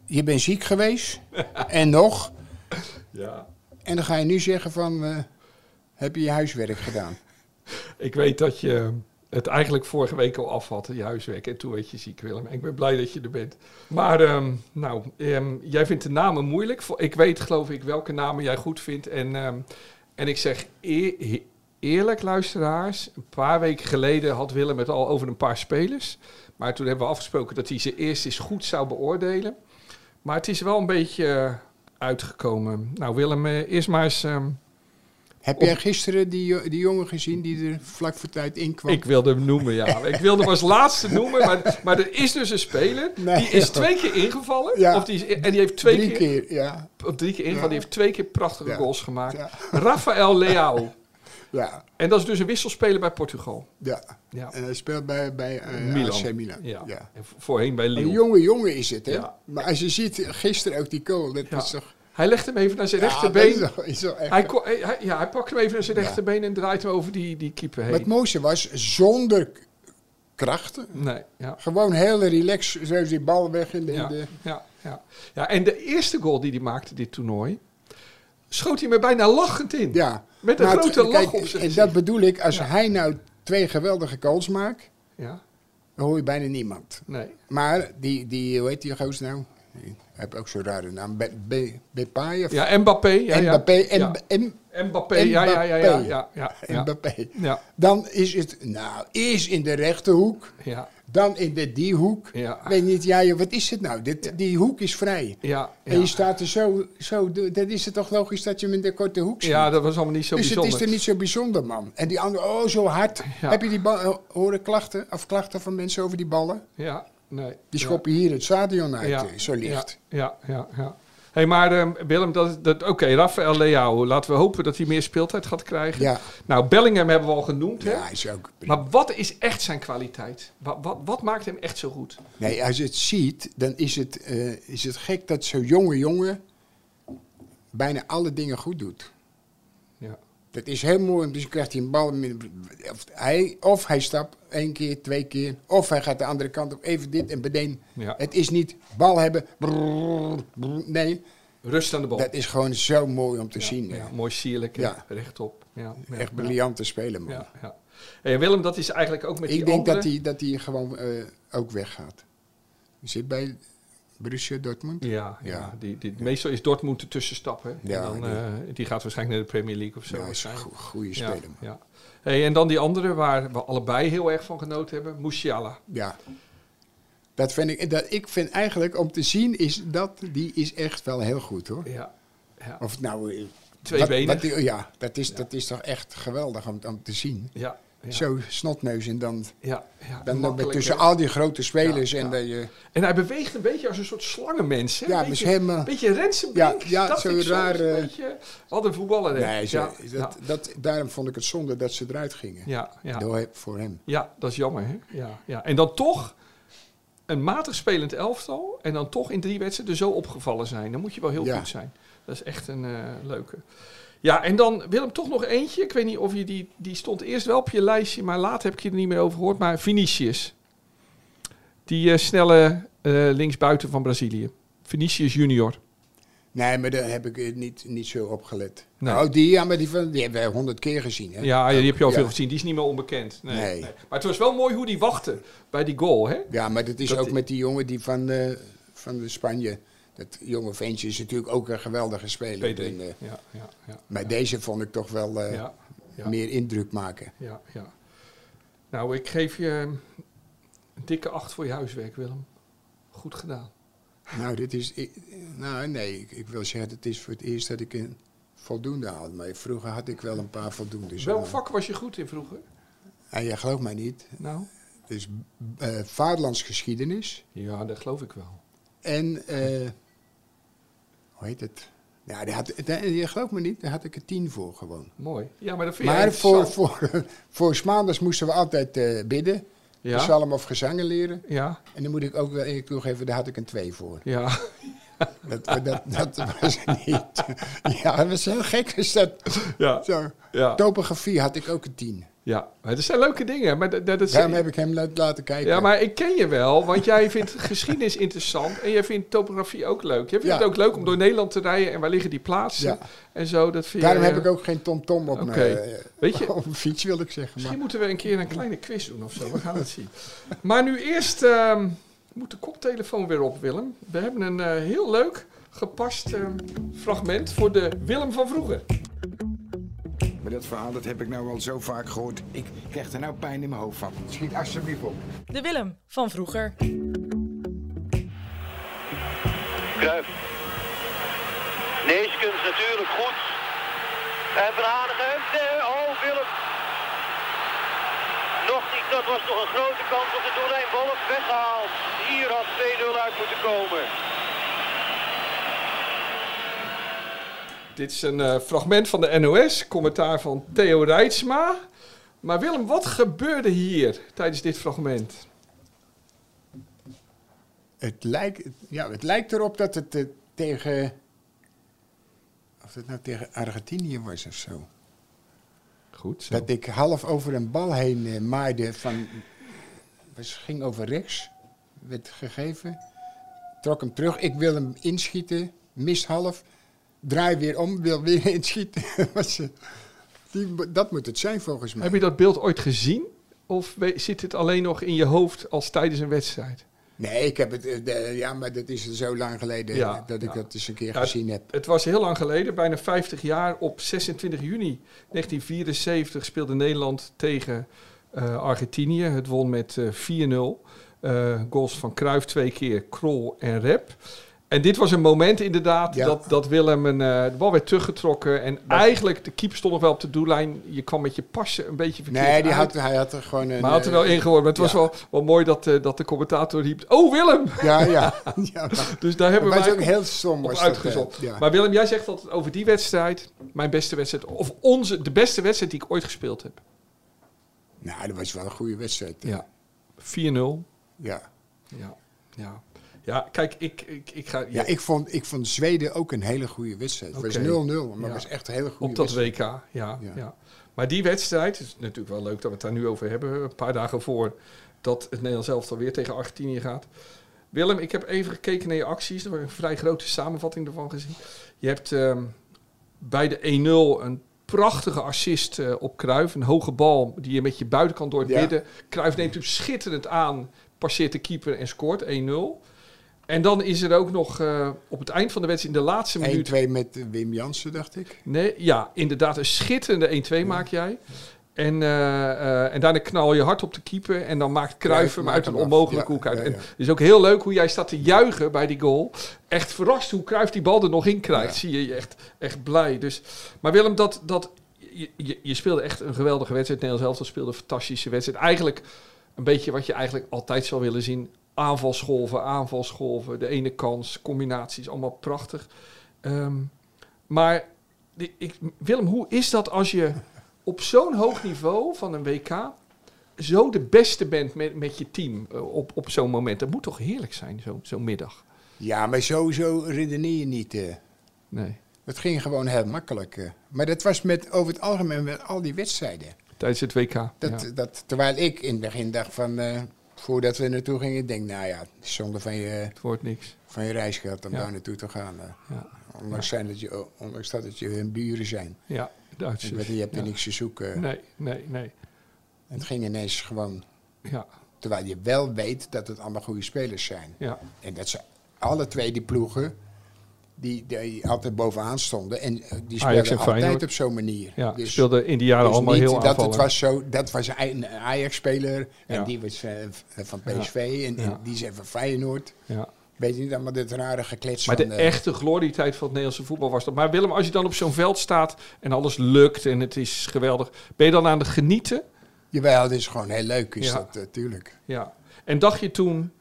je bent ziek geweest. en nog.
Ja.
En dan ga je nu zeggen van, eh, heb je je huiswerk gedaan?
Ik weet dat je het eigenlijk vorige week al af had, je huiswerk. En toen werd je ziek, Willem. En ik ben blij dat je er bent. Maar, ehm, nou, ehm, jij vindt de namen moeilijk. Vo- Ik weet, geloof ik, welke namen jij goed vindt. En, ehm, en ik zeg eer- he- eerlijk, luisteraars. Een paar weken geleden had Willem het al over een paar spelers. Maar toen hebben we afgesproken dat hij ze eerst eens goed zou beoordelen. Maar het is wel een beetje eh, uitgekomen. Nou, Willem, eh, eerst maar eens... ehm,
Heb jij gisteren die, jo- die jongen gezien die er vlak voor tijd in kwam?
Ik wilde hem noemen, ja. Ik wilde hem als laatste noemen. Maar, maar er is dus een speler.
Nee.
die is twee keer ingevallen.
Ja.
Of die is, en die heeft twee
Drie
keer,
keer, ja.
Of drie keer ingevallen. Die heeft twee keer prachtige
Ja.
goals gemaakt.
Ja.
Rafael Leao.
Ja,
En dat is dus een wisselspeler bij Portugal.
ja.
Ja.
En hij speelt bij, bij eh,
Milan.
AC Milan.
Ja.
Ja.
En vo- voorheen bij
Een
Lille.
jonge jongen is het, hè?
Ja.
Maar als je ziet, gisteren ook die goal, dat
Ja.
is toch...
Hij legt hem even naar zijn
Ja,
rechterbeen.
dat is toch- is toch echt-
hij, ko- hij- ja, hij pakt hem even naar zijn rechterbeen en draait hem over die, die keeper
Maar het
heen.
mooiste was, zonder k- krachten,
Nee, ja.
gewoon heel relaxed, zo die bal weg in de... in
Ja,
de-
ja, ja. ja, en de eerste goal die hij maakte dit toernooi, schoot hij me bijna lachend in.
Ja.
Met een
Maar het-
grote lach
kijk,
op zijn
En
gezicht.
dat bedoel ik, als hij nou twee geweldige goals maakt,
Ja,
dan hoor je bijna niemand.
nee.
Maar die, die hoe heet die gozer nou? Ik heb ook zo'n rare naam. Be, Be, Bepay of
Ja, Mbappé. Ja,
Mbappé.
ja.
Em- Em-
Ja. Mbappé, ja, ja, ja, ja, ja, ja, ja.
Mbappé.
Ja.
Dan is het, nou, eerst in de rechterhoek,
Ja,
dan in de die hoek.
Ja.
Weet niet, ja, joh, wat is het nou? Dit, Die hoek is vrij.
ja,
En je
ja.
staat er zo, zo, door. dan is het toch logisch dat je hem in de korte hoek schiet?
Ja, dat was allemaal niet zo
dus het is er
bijzonder.
niet zo bijzonder, man. En die andere, oh, zo hard.
Ja.
Heb je die bal, eh, horen klachten, of klachten van mensen over die ballen?
Ja, nee.
Die
Ja.
schoppen hier het stadion uit, eh, zo licht.
Ja, ja, ja. ja. hey, maar ehm, Willem, dat, dat, oké, Rafael Leao. Laten we hopen dat hij meer speeltijd gaat krijgen.
Ja.
Nou, Bellingham hebben we al genoemd, hè?
Ja, hij is ook prima.
Maar wat is echt zijn kwaliteit? Wat, wat, wat maakt hem echt zo goed?
Nee, als je het ziet, dan is het, eh, is het gek dat zo'n jonge jongen bijna alle dingen goed doet.
Ja.
Dat is heel mooi, dus krijgt hij een bal. met- Of hij, of hij stapt één keer, twee keer. Of hij gaat de andere kant op, even dit en beneden.
Ja.
Het is niet bal hebben. brrr, brrr, nee,
Rust aan de bal.
dat is gewoon zo mooi om te zien.
ja,
hè.
mooi sierlijk, hè?
Ja.
rechtop. Ja, ja,
Echt
ja,
briljant te spelen, man.
ja, ja. En Willem, dat is eigenlijk ook met die
Ik denk
andere...
dat hij dat die gewoon eh, ook weggaat. Hij zit bij Borussia Dortmund.
Ja, ja.
Ja.
Die, die, meestal is Dortmund de tussenstap. Hè?
Ja,
en dan,
die-
eh, die gaat waarschijnlijk naar de Premier League of zo.
Ja, hij is een
waarschijnlijk.
go- goede
ja,
speler, man.
ja. Hey, en dan die andere waar we allebei heel erg van genoten hebben. Musiala.
Ja. Dat vind ik, dat, ik vind eigenlijk om te zien is dat die is echt wel heel goed hoor.
Ja. Ja.
Of het nou. eh,
Twee
wat-
benen.
wat die- ja, dat is, dat is toch echt geweldig om, om te zien.
Ja. Ja.
Zo snotneus en dan,
Ja, ja,
dan loop je
makkelijk,
tussen
hè.
al die grote spelers
Ja,
en
ja.
dat je.
En hij beweegt een beetje als een soort slangenmens. Hè?
Ja,
een beetje,
dus helemaal-
beetje Rensenbrink.
Ja, ja,
dacht
zo
ik soms,
raar,
een
eh.
beetje. Wat een voetballer. hè.
Nee, zo-
ja,
dat, dat, daarom vond ik het zonde dat ze eruit gingen.
ja, ja, ja,
Door, voor hem.
Ja, dat is jammer. Hè? Ja, ja. En dan toch een matig spelend elftal en dan toch in drie wedstrijden zo opgevallen zijn. Dan moet je wel heel
Ja.
goed zijn. Dat is echt een eh, leuke. Ja, en dan Willem toch nog eentje. Ik weet niet of je die, die stond eerst wel op je lijstje, maar later heb ik je er niet meer over gehoord. Maar Vinicius. Die eh, snelle eh, linksbuiten van Brazilië. Vinicius junior.
Nee, maar daar heb ik eh, niet, niet zo op gelet.
Nee.
Oh, die, ja, maar die, van, die hebben we honderd keer gezien. Hè?
Ja, die heb je al
Ja.
veel gezien. Die is niet meer onbekend. Nee,
Nee.
nee. Maar het was wel mooi hoe die wachtte bij die goal, hè?
Ja, maar dat is
Dat-
ook met die jongen die van, eh, van de Spanje. Dat jonge ventje is natuurlijk ook een geweldige speler.
P3.
En, eh,
Ja, ja, ja.
maar deze vond ik toch wel eh,
ja, ja.
meer indruk maken.
Ja, ja. Nou, ik geef je een dikke acht voor je huiswerk, Willem. Goed gedaan.
Nou, dit is. ik- nou, nee, ik, ik wil zeggen, het is voor het eerst dat ik een voldoende had. Maar vroeger had ik wel een paar voldoendes.
Welk
Maar-
vak was je goed in vroeger?
En jij gelooft mij niet.
Nou?
Het is eh vaderlandsgeschiedenis.
Ja, dat geloof ik wel.
En, eh, hoe heet het? Ja, daar had, daar- je gelooft me niet, daar had ik een tien voor gewoon.
Mooi. Ja, maar dat vind
Maar
je
voor, voor, voor 's maandags moesten we altijd eh, bidden.
Ja.
Psalm of gezangen leren.
Ja,
En dan moet ik ook wel eerlijk toegeven, daar had ik een twee voor.
ja.
Dat, dat, dat was het niet. Ja, dat was heel gek. Is dat.
Ja,
Zo.
ja.
Topografie had ik ook een tien.
ja. Maar dat zijn leuke dingen. Maar dat, dat, dat
Daarom heb ik hem laat- laten kijken.
ja, maar ik ken je wel, want jij vindt geschiedenis interessant en jij vindt topografie ook leuk. Je vindt
Ja.
het ook leuk om door Nederland te rijden en waar liggen die plaatsen
Ja.
en zo. Dat vind
Daarom
je,
heb ik ook geen tomtom op
Oké.
mijn eh,
Weet je,
op mijn fiets, wil ik zeggen. Maar,
Misschien moeten we een keer een kleine quiz doen of zo. We gaan het zien. Maar nu eerst ehm, moet de koptelefoon weer op, Willem. We hebben een eh, heel leuk gepast ehm, fragment voor de Willem van vroeger.
Maar dat verhaal dat heb ik nou al zo vaak gehoord. Ik krijg er nou pijn in mijn hoofd van. Schiet alsjeblieft op.
De Willem van vroeger.
Kruif. Neeskens natuurlijk goed. En Verhagen. Nee, oh Willem. Nog niet, dat was nog een grote kans op de doellijn. Wolf weggehaald. Hier had 2-0 uit moeten komen.
Dit is een eh, fragment van de NOS, commentaar van Theo Reitsma. Maar Willem, wat gebeurde hier tijdens dit fragment?
Het lijkt, ja, het lijkt erop dat het eh, tegen. Of het nou tegen Argentinië was of zo.
Goed zo.
Dat ik half over een bal heen eh, maaide van. Het ging over rechts. Werd gegeven. Trok hem terug. Ik wil hem inschieten. Mist half. Draai weer om. Wil weer inschieten. Was, eh, die- dat moet het zijn volgens mij.
Heb je dat beeld ooit gezien? Of we- zit het alleen nog in je hoofd als tijdens een wedstrijd?
Nee, ik heb het. eh, de- ja, maar dat is zo lang geleden
Ja,
dat ik
ja.
dat eens een keer
Ja,
gezien heb.
Het was heel lang geleden, bijna 50 jaar. Op 26 juni 1974 speelde Nederland tegen eh, Argentinië. Het won met eh, 4-0. Eh, goals van Cruijff twee keer, Krol en Rep. En dit was een moment inderdaad
Ja.
dat, dat Willem een, eh, de bal werd teruggetrokken. En eigenlijk, de keeper stond nog wel op de doellijn. Je kwam met je passen een beetje verkeerd
Nee, die
uit.
had, hij had er gewoon een.
Maar hij had er wel
eh,
ingehoord. Maar het was
ja.
wel, wel mooi dat, eh, dat de commentator riep... Oh, Willem!
Ja, ja. ja maar,
Dus daar hebben
maar het is
wij
ook heel stom.
op
was dat,
uitgezocht.
eh, ja.
Maar Willem, jij zegt altijd over die wedstrijd, mijn beste wedstrijd, of onze, de beste wedstrijd die ik ooit gespeeld heb.
Nou, dat was wel een goede wedstrijd. hè.
4-0.
Ja.
Ja. ja. Ja, kijk, ik, ik, ik ga
Ja, ik vond, ik vond Zweden ook een hele goede wedstrijd. Het
Oké.
was 0-0, maar het
Ja.
was echt een hele goede
op dat
wedstrijd.
WK. Ja, ja. Maar die wedstrijd, het is natuurlijk wel leuk dat we het daar nu over hebben, een paar dagen voor dat het Nederlands elftal weer tegen Argentinië gaat. Willem, ik heb even gekeken naar je acties. Er was een vrij grote samenvatting ervan gezien. Je hebt ehm, bij de 1-0 een prachtige assist eh, op Kruif. Een hoge bal die je met je buitenkant door het
Ja.
midden. Kruif neemt hem schitterend aan, passeert de keeper en scoort 1-0. En dan is er ook nog eh, op het eind van de wedstrijd, in de laatste minuut,
1-2 met eh, Wim Jansen, dacht ik.
Nee, ja, inderdaad. Een schitterende 1-2 maak jij. En, eh, eh, en daarna knal je hard op de keeper. En dan maakt Kruijff
Ja,
hem
maakt
uit een
hem af.
onmogelijke
Ja,
hoek uit.
ja,
En
ja.
het is ook heel leuk hoe jij staat te juichen bij die goal. Echt verrast hoe Kruijff die bal er nog in krijgt. Zie je je echt, echt blij. Dus, maar Willem, dat, dat, je, je, je speelde echt een geweldige wedstrijd. Nederlands elftal speelde een fantastische wedstrijd. Eigenlijk een beetje wat je eigenlijk altijd zou willen zien. Aanvalsgolven, aanvalsgolven. De ene kans, combinaties. Allemaal prachtig. Ehm, maar die- ik, Willem, hoe is dat als je op zo'n hoog niveau van een WK zo de beste bent met, met je team eh, op, op zo'n moment. Dat moet toch heerlijk zijn, zo- zo'n middag?
Ja, maar sowieso redeneer je niet. eh.
Nee.
Het ging gewoon heel makkelijk. eh. Maar dat was met, over het algemeen met al die wedstrijden.
Tijdens het WK. Ja.
Dat, eh, dat, terwijl ik in het begin dacht van, eh, voordat we naartoe gingen, denk nou ja, het is zonde van je,
Het wordt niks.
van je reisgeld om
Ja.
daar naartoe te gaan. eh.
Ja,
Ondanks, zijn dat je, ondanks dat het je hun buren zijn.
ja Duitsers.
Ik weet, je hebt er
Ja.
niks te zoeken.
Nee, nee, nee.
Het ging ineens gewoon,
Ja,
terwijl je wel weet dat het allemaal goede spelers zijn.
ja,
En dat ze alle twee die ploegen, die, die altijd bovenaan stonden. En eh, die
Ajax
speelden
en Feyenoord.
altijd op zo'n manier.
ja.
Dus-
speelden in die jaren
dus
allemaal
niet
heel
dat het
aanvallend.
was zo, dat was een Ajax-speler en
Ja.
die was eh, van PSV en, en
Ja.
die zijn van Feyenoord.
Ja.
Weet je niet allemaal dit rare geklets
Maar de
van... eh,
echte glorietijd van het Nederlandse voetbal was dat. Maar Willem, als je dan op zo'n veld staat en alles lukt en het is geweldig, ben je dan aan het genieten?
Jawel, het is gewoon heel leuk, is
Ja.
dat eh, natuurlijk.
Ja. En dacht je toen,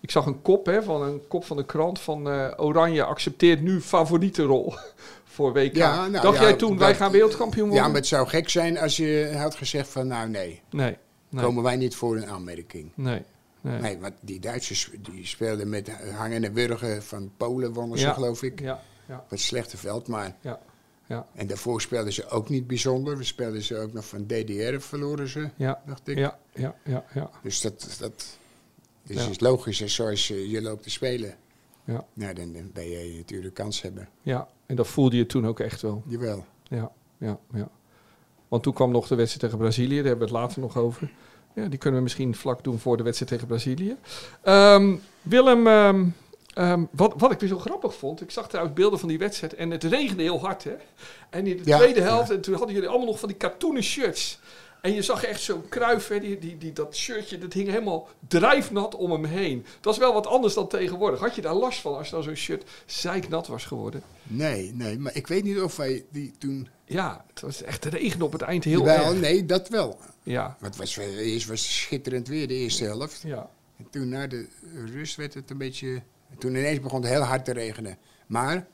ik zag een kop, hè, van een kop van de krant van eh, Oranje accepteert nu favoriete rol voor WK.
Ja, nou
dacht
ja,
jij toen, wij
dat-
gaan wereldkampioen worden?
Ja, maar het zou gek zijn als je had gezegd van... nou nee,
Nee, nee,
komen wij niet voor een aanmerking.
nee, nee.
Nee, want die Duitsers die speelden met hangende wurgen van Polen wonnen
Ja.
ze, geloof ik.
Ja, ja,
Wat slechte veld, maar...
ja, ja,
En daarvoor speelden ze ook niet bijzonder. We speelden ze ook nog van DDR, verloren ze,
ja,
dacht ik.
ja, ja, ja, ja,
Dus dat, dat dus
Ja.
is logisch. En zoals je, je loopt te spelen,
ja,
nou, dan, dan ben je natuurlijk kans hebben.
ja. En dat voelde je toen ook echt wel.
Jawel.
Ja, ja, ja. Want toen kwam nog de wedstrijd tegen Brazilië, daar hebben we het later nog over. Ja, die kunnen we misschien vlak doen voor de wedstrijd tegen Brazilië. Ehm, Willem, ehm, ehm, wat, wat ik weer zo grappig vond, ik zag trouwens beelden van die wedstrijd en het regende heel hard. Hè? En in de
Ja,
tweede helft, en toen hadden jullie allemaal nog van die katoenen shirts. En je zag echt zo'n kruif, hè, die, die, die, dat shirtje, dat hing helemaal drijfnat om hem heen. Dat is wel wat anders dan tegenwoordig. Had je daar last van als dan zo'n shirt zeiknat was geworden?
Nee, nee, maar ik weet niet of wij die toen...
Ja, het was echt regen op het eind heel
Jawel,
erg.
nee, dat wel.
Ja,
Want het was, wel- eerst was het schitterend weer, de eerste helft.
ja,
En toen na de rust werd het een beetje... Toen ineens begon het heel hard te regenen. Maar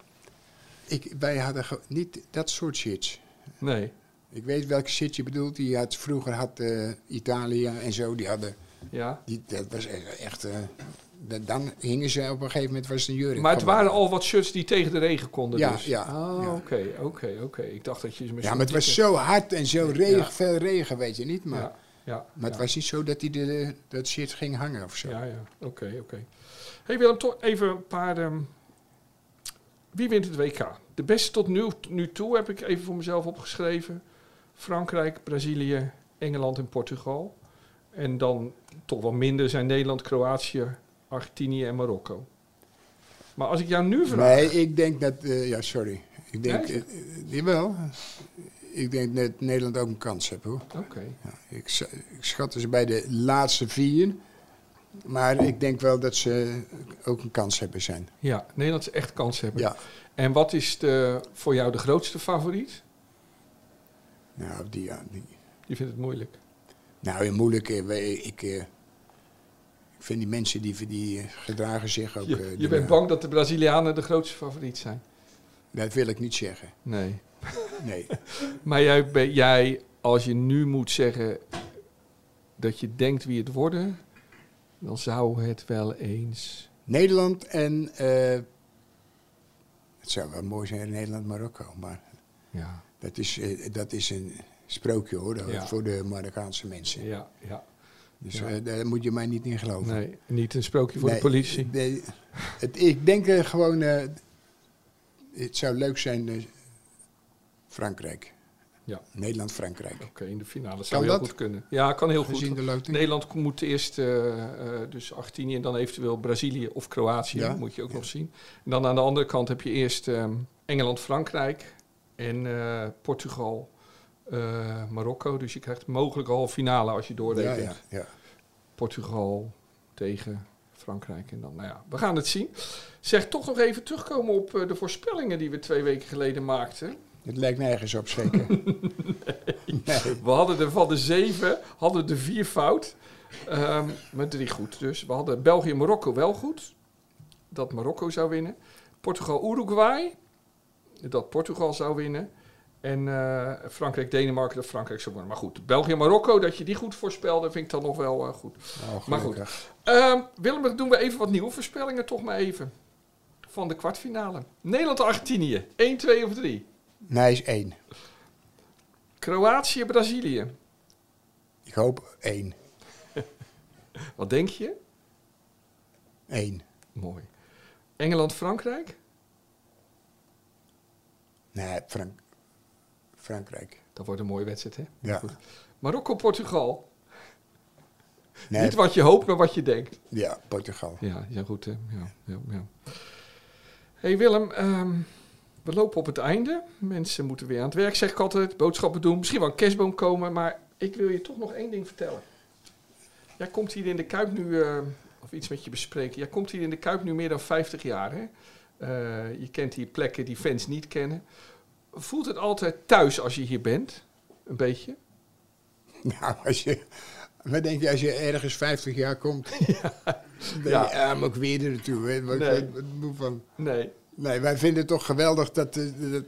ik, wij hadden ge- niet dat soort shit.
nee.
Ik weet welke shit je bedoelt. Die had, vroeger had eh, Italië en zo, die hadden...
Ja.
Die, dat was e- echt. eh, da- dan hingen ze op een gegeven moment was het een jurk.
Maar het waren al wat shirts die tegen de regen konden.
Ja,
dus.
ja,
Ah,
ja.
Oké, oké, oké. Ik dacht dat je.
Ja, maar het was zo hard en zo regen,
Ja.
veel regen, weet je niet. Maar,
Ja, ja,
maar het
ja.
was niet zo dat hij de, de- dat shit ging hangen of zo.
Ja, ja. Oké, oké. Hey Willem, toch even een paar. ehm, wie wint het WK? De beste tot nu, nu toe heb ik even voor mezelf opgeschreven: Frankrijk, Brazilië, Engeland en Portugal. En dan toch wel minder zijn Nederland, Kroatië, Argentinië en Marokko. Maar als ik jou nu vraag.
Nee, ik denk dat. eh, ja, sorry. Ik denk.
Nee?
eh, eh, jawel. Ik denk dat Nederland ook een kans heeft hoor.
Oké.
Ik, s- ik schatte ze bij de laatste vier. Maar ik denk wel dat ze ook een kans hebben zijn.
Ja, Nederland is echt kans hebben.
Ja.
En wat is de, voor jou de grootste favoriet?
Nou, die, ja, die,
Je vindt het moeilijk.
Nou, heel moeilijk. eh, wij- Ik, eh, ik vind die mensen die, die eh, gedragen zich ook.
Je,
eh,
je
die-
bent bang dat de Brazilianen de grootste favoriet zijn.
Dat wil ik niet zeggen.
Nee.
Nee.
Maar jij, ben- jij, als je nu moet zeggen dat je denkt wie het worden, dan zou het wel eens.
Nederland en. eh, het zou wel mooi zijn, Nederland-Marokko. Maar
Ja,
dat is, eh, dat is een sprookje hoor, dat-
Ja.
voor de Marokkaanse mensen.
ja, ja.
Dus
Ja.
eh, daar moet je mij niet in geloven.
Nee, niet een sprookje voor
Nee,
de politie.
nee. het, ik denk eh, gewoon. eh, het zou leuk zijn, eh, Frankrijk.
Ja.
Nederland-Frankrijk.
Oké, in de finale zou
Kan
heel
dat?
goed kunnen. Ja, kan heel
Gezien
goed.
de loting.
Nederland moet eerst eh, eh, dus Argentinië en dan eventueel Brazilië of Kroatië,
Ja.
moet je ook nog zien. En dan aan de andere kant heb je eerst ehm, Engeland, Frankrijk en eh, Portugal, eh, Marokko. Dus je krijgt mogelijk al finale als je
Ja,
doorrekent.
ja, ja.
Portugal tegen Frankrijk. En dan, nou ja, we gaan het zien. Zeg, toch nog even terugkomen op eh, de voorspellingen die we twee weken geleden maakten.
Het lijkt nergens op, zeker. nee.
We hadden er van de zeven, hadden de vier fout. Ehm maar drie goed dus. We hadden België-Marokko wel goed. Dat Marokko zou winnen. Portugal-Uruguay. Dat Portugal zou winnen. En eh, Frankrijk-Denemarken dat Frankrijk zou worden. Maar goed, België-Marokko, dat je die goed voorspelde, vind ik dan nog wel eh, goed.
Nou,
Maar goed.
gelukkig.
Ehm, Willem, dan doen we even wat nieuwe voorspellingen toch maar even. Van de kwartfinale. Nederland-Argentinië. 1, 2 of 3.
Nee, is één.
Kroatië-Brazilië.
Ik hoop één.
Wat denk je?
Eén.
Mooi. Engeland-Frankrijk.
Nee, Frank Frankrijk.
Dat wordt een mooie wedstrijd, hè?
Ja.
Marokko-Portugal.
Nee,
Niet wat je hoopt, maar wat je denkt.
ja, Portugal.
Ja, ja goed, hè? Ja, ja, ja. hey Willem, ehm, we lopen op het einde. Mensen moeten weer aan het werk, zeg ik altijd. Boodschappen doen, misschien wel een kerstboom komen. Maar ik wil je toch nog één ding vertellen. Jij komt hier in de Kuip nu, eh, of iets met je bespreken. Jij komt hier in de Kuip nu meer dan 50 jaar, hè? Eh, je kent hier plekken die fans niet kennen. Voelt het altijd thuis als je hier bent? Een beetje?
Nou, als je, wat denk je als je ergens 50 jaar komt? Ja, ben je,
Ja.
ja maar ik weer er naartoe. hè, want ik
Nee.
word- word moe van.
Nee.
Nee, wij vinden het toch geweldig dat, eh, dat,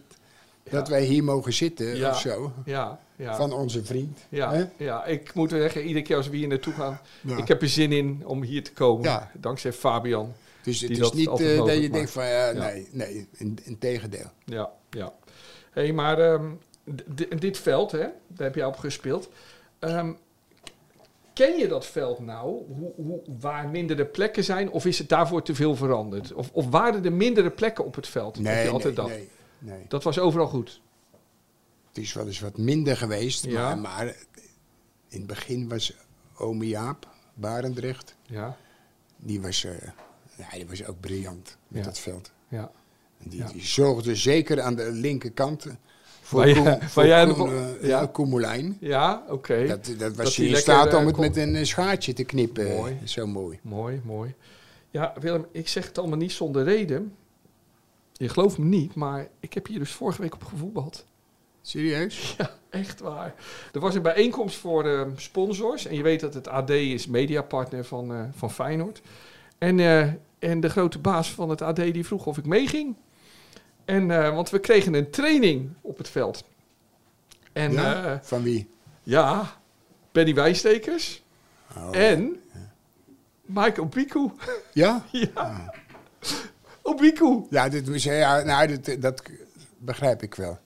dat wij hier mogen zitten
Ja.
of zo.
Ja, ja.
Van onze vriend. hè?
Ja, ja, ik moet zeggen, iedere keer als we hier naartoe gaan,
Ja.
ik heb er zin in om hier te komen.
Ja.
Dankzij Fabian.
Dus het
Die
is
dat
niet
altijd
eh, dat je
mogelijk
denkt
maakt.
van, ja,
Ja.
nee, nee, in, in tegendeel.
Ja, ja. Hé, hey, maar ehm, d- d- dit veld, hè, daar heb jij op gespeeld. Ehm, ken je dat veld nou, hoe, hoe, waar mindere plekken zijn? Of is het daarvoor te veel veranderd? Of, of waren er mindere plekken op het veld? Heb je
Nee, nee,
altijd dat?
nee, nee.
Dat was overal goed.
Het is wel eens wat minder geweest,
Ja.
maar, maar in het begin was ome Jaap, Barendrecht,
Ja,
die was, eh, ja, die was ook briljant met
Ja.
dat veld.
ja.
En Die,
Ja.
die zorgde zeker aan de linkerkant voor,
Waar jij-
Koen-
waar
voor
jij aan de
Koen,
bal-
eh,
ja.
ja, Koen Moulijn.
Ja, oké.
Dat, dat was
Dat
hij
die
in
lekker,
staat
eh,
om het
kon-
met een eh, schaartje te knippen.
Mooi.
Zo mooi.
Mooi, mooi. Ja, Willem, ik zeg het allemaal niet zonder reden. Je gelooft me niet, maar ik heb hier dus vorige week op gevoetbald.
Serieus?
Ja, echt waar. Er was een bijeenkomst voor eh, sponsors. En je weet dat het AD is mediapartner van, eh, van Feyenoord. En, eh, en de grote baas van het AD die vroeg of ik meeging. En, eh, want we kregen een training op het veld. En
Ja?
ja,
eh, Van wie?
ja Benny Wijstekers
Oh.
en Michael Pico.
Ja?
Ja. Obiku.
Ja, dit, was- ja nou, dat, dat begrijp ik wel.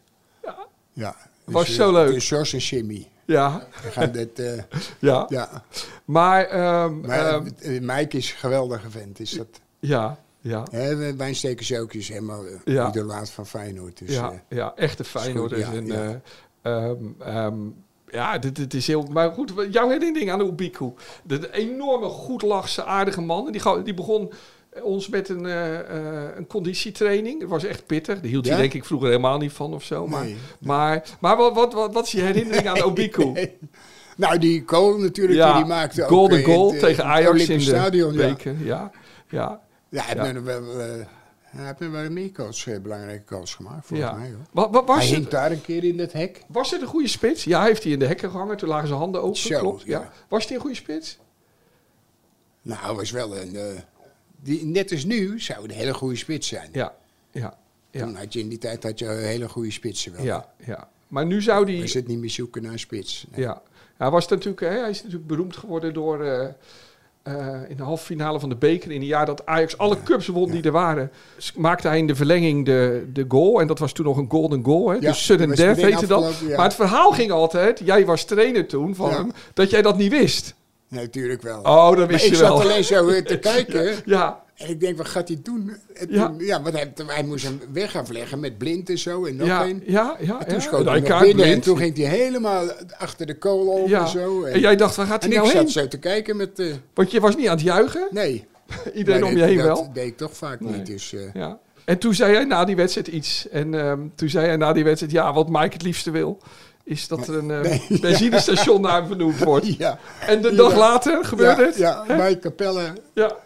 Ja.
Ja.
Was
Dus,
zo
eh,
leuk.
dus George en Jimmy.
Ja,
We gaan dit, eh,
ja.
ja.
Maar, ehm,
Maar
ehm,
eh, Mike is een geweldige vent. Is dat,
ja, ja,
hè, Wijnstekers ook is helemaal eh,
Ja.
idolaat van Feyenoord. Dus,
ja,
eh,
ja, echte Feyenoord.
goed, ja,
en,
ja.
eh, ehm, ehm, ja, dit, dit is heel... Maar goed, we- jouw herinnering aan Obiku. De, de enorme, goedlachse, aardige man. En Die, gauw- die begon ons met een, eh, eh, een conditietraining. Dat was echt pittig. Daar hield hij
Ja?
denk ik vroeger helemaal niet van of zo. Maar,
Nee.
maar, maar wat, wat, wat, wat is je herinnering aan Obiku?
Nou, die goal natuurlijk
Ja,
die die maakte ook.
golden
eh, in
goal
het, eh,
tegen
in het
Ajax in de
Olympisch Stadion, ja.
beker. Ja, ja,
Ja, hij
Ja.
heeft me wel, eh, hij heeft me wel meer goals, eh, belangrijke goals gemaakt, volgens
ja.
mij. Hoor.
Wa- wa-
hij
was,
hing
het,
daar een keer in dat hek.
was het een goede spits? Ja, hij heeft hij in de hekken gehangen. Toen lagen zijn handen open,
Zo,
klopt. Ja.
ja.
Was hij een goede spits?
Nou, hij was wel een... eh, die, net als nu zou het een hele goede spits zijn.
Ja, ja, ja,
Toen had je in die tijd had je hele goede spitsen wel.
ja, ja. Maar nu zou
Je
die...
zit niet meer zoeken naar een spits. Nee.
Ja. Hij, was natuurlijk, hè, hij is natuurlijk beroemd geworden door... eh, eh, in de halve finale van de beker in het jaar dat Ajax alle cups won die er waren... s- maakte hij in de verlenging de, de goal. En dat was toen nog een golden goal. Hè? dus sudden
die was
death
meteen
heette dat.
afgelopen, ja.
Maar het verhaal ging altijd... Jij was trainer toen van
Ja.
hem... dat jij dat niet wist.
Nee, natuurlijk wel.
Oh, dat
maar
wist
ik
je wel.
zat alleen zo eh, te kijken.
Ja,
En ik denk, wat gaat hij doen? En
Ja.
toen- ja, want hij, hij moest hem weg afleggen met blind en zo en nog
ja,
een.
ja, ja.
En toen
ja.
schoot
Nou,
hij
ik
nog
had
binnen en
blind.
toen ging hij helemaal achter de kool om
ja.
en zo.
En jij dacht, waar gaat
en
hij
ik
nou heen?
zat zo te kijken met... eh,
Want je was niet aan het juichen.
nee.
Iedereen
Maar
om je
dat-
heen
dat
wel.
deed ik toch vaak
Nee.
niet. Dus, eh,
Ja. En toen zei hij na die wedstrijd iets. En ehm, toen zei hij na die wedstrijd, ja, wat Mike het liefste wil... is dat er een eh,
Nee.
benzinestation naar hem vernoemd wordt.
ja.
En de dag
Ja.
later gebeurde
ja,
het.
Ja, Mike Capella.
ja,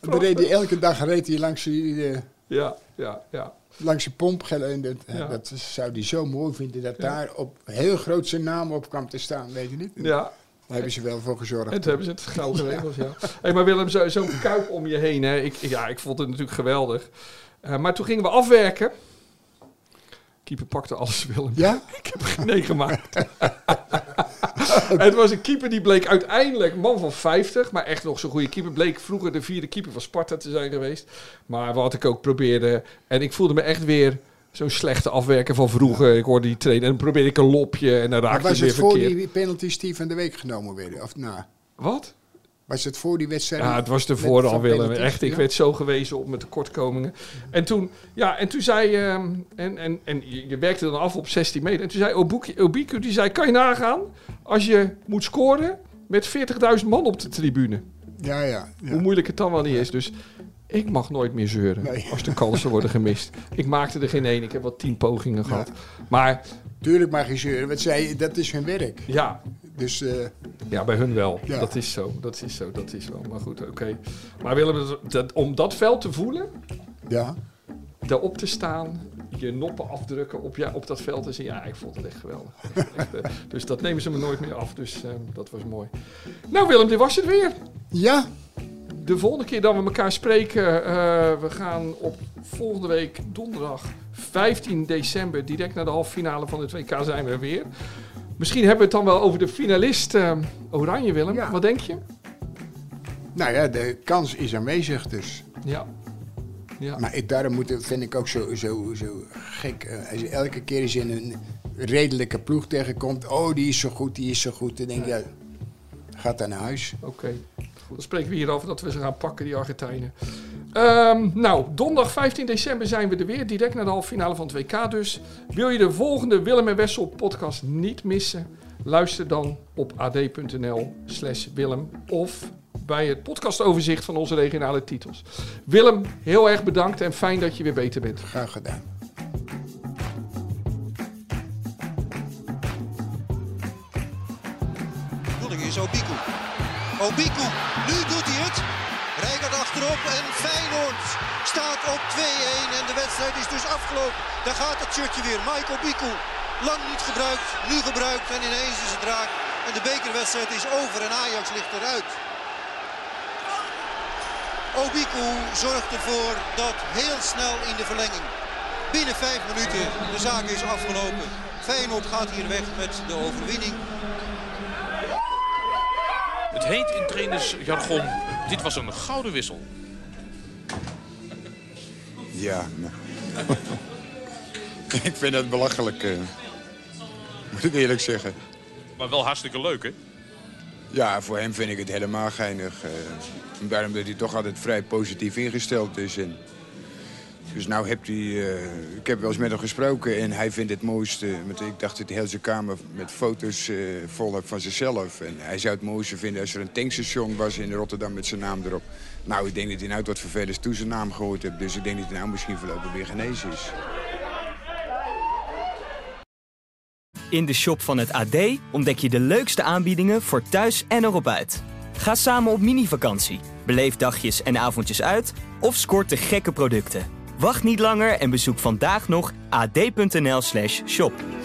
Daar reed hij elke dag reed hij langs die... eh,
ja, ja. ja.
langs de pomp. gel- En dat,
Ja.
dat zou hij zo mooi vinden dat daar op heel groot zijn naam op kwam te staan, weet je niet?
ja.
Daar hebben ze wel voor gezorgd.
En toen hebben ze het gauw geregeld, ja. Hey, maar Willem, zo- zo'n kuip om je heen, hè. Ik, ja, ik vond het natuurlijk geweldig. Eh, maar toen gingen we afwerken. Keeper pakte alles Willem.
Ja?
Ik heb er geen nee gemaakt. het was een keeper die bleek uiteindelijk man van 50, maar echt nog zo'n goede keeper. Bleek vroeger de vierde keeper van Sparta te zijn geweest. Maar wat ik ook probeerde. En ik voelde me echt weer zo'n slechte afwerker van vroeger. Ik hoorde die trainen en dan probeerde ik een lopje en dan
Maar
raakte ik
was
weer
het voor
verkeerd.
die penalties die van de week genomen werden? Of na?
Wat?
Was het voor die wedstrijd?
Ja, het was
met-
ervoor
van
al, Willem.
penalties?
Echt, ik
Ja.
werd zo gewezen op mijn tekortkomingen. En toen, ja, en toen zei... ehm, en en, en je, je werkte dan af op 16 meter. En toen zei Obuki- Obiku, die zei... Kan je nagaan als je moet scoren met 40.000 man op de tribune?
Ja, ja. ja.
Hoe moeilijk het dan wel niet is. Dus ik mag nooit meer zeuren
Nee.
als de kansen worden gemist. Ik maakte er geen één. Ik heb wel tien pogingen gehad. Maar
Tuurlijk mag je zeuren, want zij, dat is hun werk.
ja,
Dus eh,
Ja, bij hun wel.
Ja.
Dat is zo. Dat is zo. Dat is wel. Maar goed, oké. Maar Willem, dat, dat- om dat veld te voelen,
ja.
daarop te staan, je noppen afdrukken op, ja, op dat veld en zeggen, ja, ik vond het echt geweldig. Echt, eh, dus dat nemen ze me nooit meer af. Dus eh, dat was mooi. Nou Willem, dit was het weer.
Ja,
De volgende keer dat we elkaar spreken, eh, we gaan op volgende week donderdag 15 december, direct na de halve finale van het WK, zijn we er weer. Misschien hebben we het dan wel over de finalist eh, Oranje, Willem.
Ja.
Wat denk je?
nou ja, de kans is aanwezig dus.
Ja. ja.
Maar ik, daarom moet, vind ik ook zo, zo, zo gek. eh, als je elke keer eens in een redelijke ploeg tegenkomt. Oh, die is zo goed, die is zo goed. Dan denk je, ja, gaat dan naar huis.
Oké. Goed, Dan spreken we hierover dat we ze gaan pakken, die Argentijnen. Ehm, nou, donderdag 15 december zijn we er weer. Direct na de halve finale van het WK dus. Wil je de volgende Willem en Wessel podcast niet missen? Luister dan op ad.nl slash Willem of bij het podcastoverzicht van onze regionale titels. Willem, heel erg bedankt en fijn dat je weer beter bent.
Graag gedaan.
bedoeling is Obiku. Obiku, nu doet hij het. Rijkaard achterop en Feyenoord staat op 2-1 en de wedstrijd is dus afgelopen. Daar gaat het shirtje weer. Mike Obiku, lang niet gebruikt, nu gebruikt en ineens is het raak. En de bekerwedstrijd is over en Ajax ligt eruit. Obiku zorgt ervoor dat heel snel in de verlenging. Binnen vijf minuten de zaak is afgelopen. Feyenoord gaat hier weg met de overwinning.
Het heet in trainersjargon, dit was een gouden wissel.
Ja. nou. ik vind het belachelijk. eh. moet ik eerlijk zeggen.
Maar wel hartstikke leuk, hè?
Ja, voor hem vind ik het helemaal geinig. eh. daarom dat hij toch altijd vrij positief ingesteld is. En dus nou hebt hij... eh, ik heb wel eens met hem gesproken en hij vindt het mooiste... Want ik dacht dat hij heel zijn kamer met foto's eh, vol had van zichzelf. En hij zou het mooiste vinden als er een tankstation was in Rotterdam met zijn naam erop. Nou, ik denk dat hij nou tot vervelens toe zijn naam gehoord heeft. Dus ik denk dat hij nou misschien voorlopig weer genezen is.
In de shop van het AD ontdek je de leukste aanbiedingen voor thuis en erop uit. Ga samen op mini-vakantie, beleef dagjes en avondjes uit of scoort de gekke producten. Wacht niet langer en bezoek vandaag nog ad.nl/shop.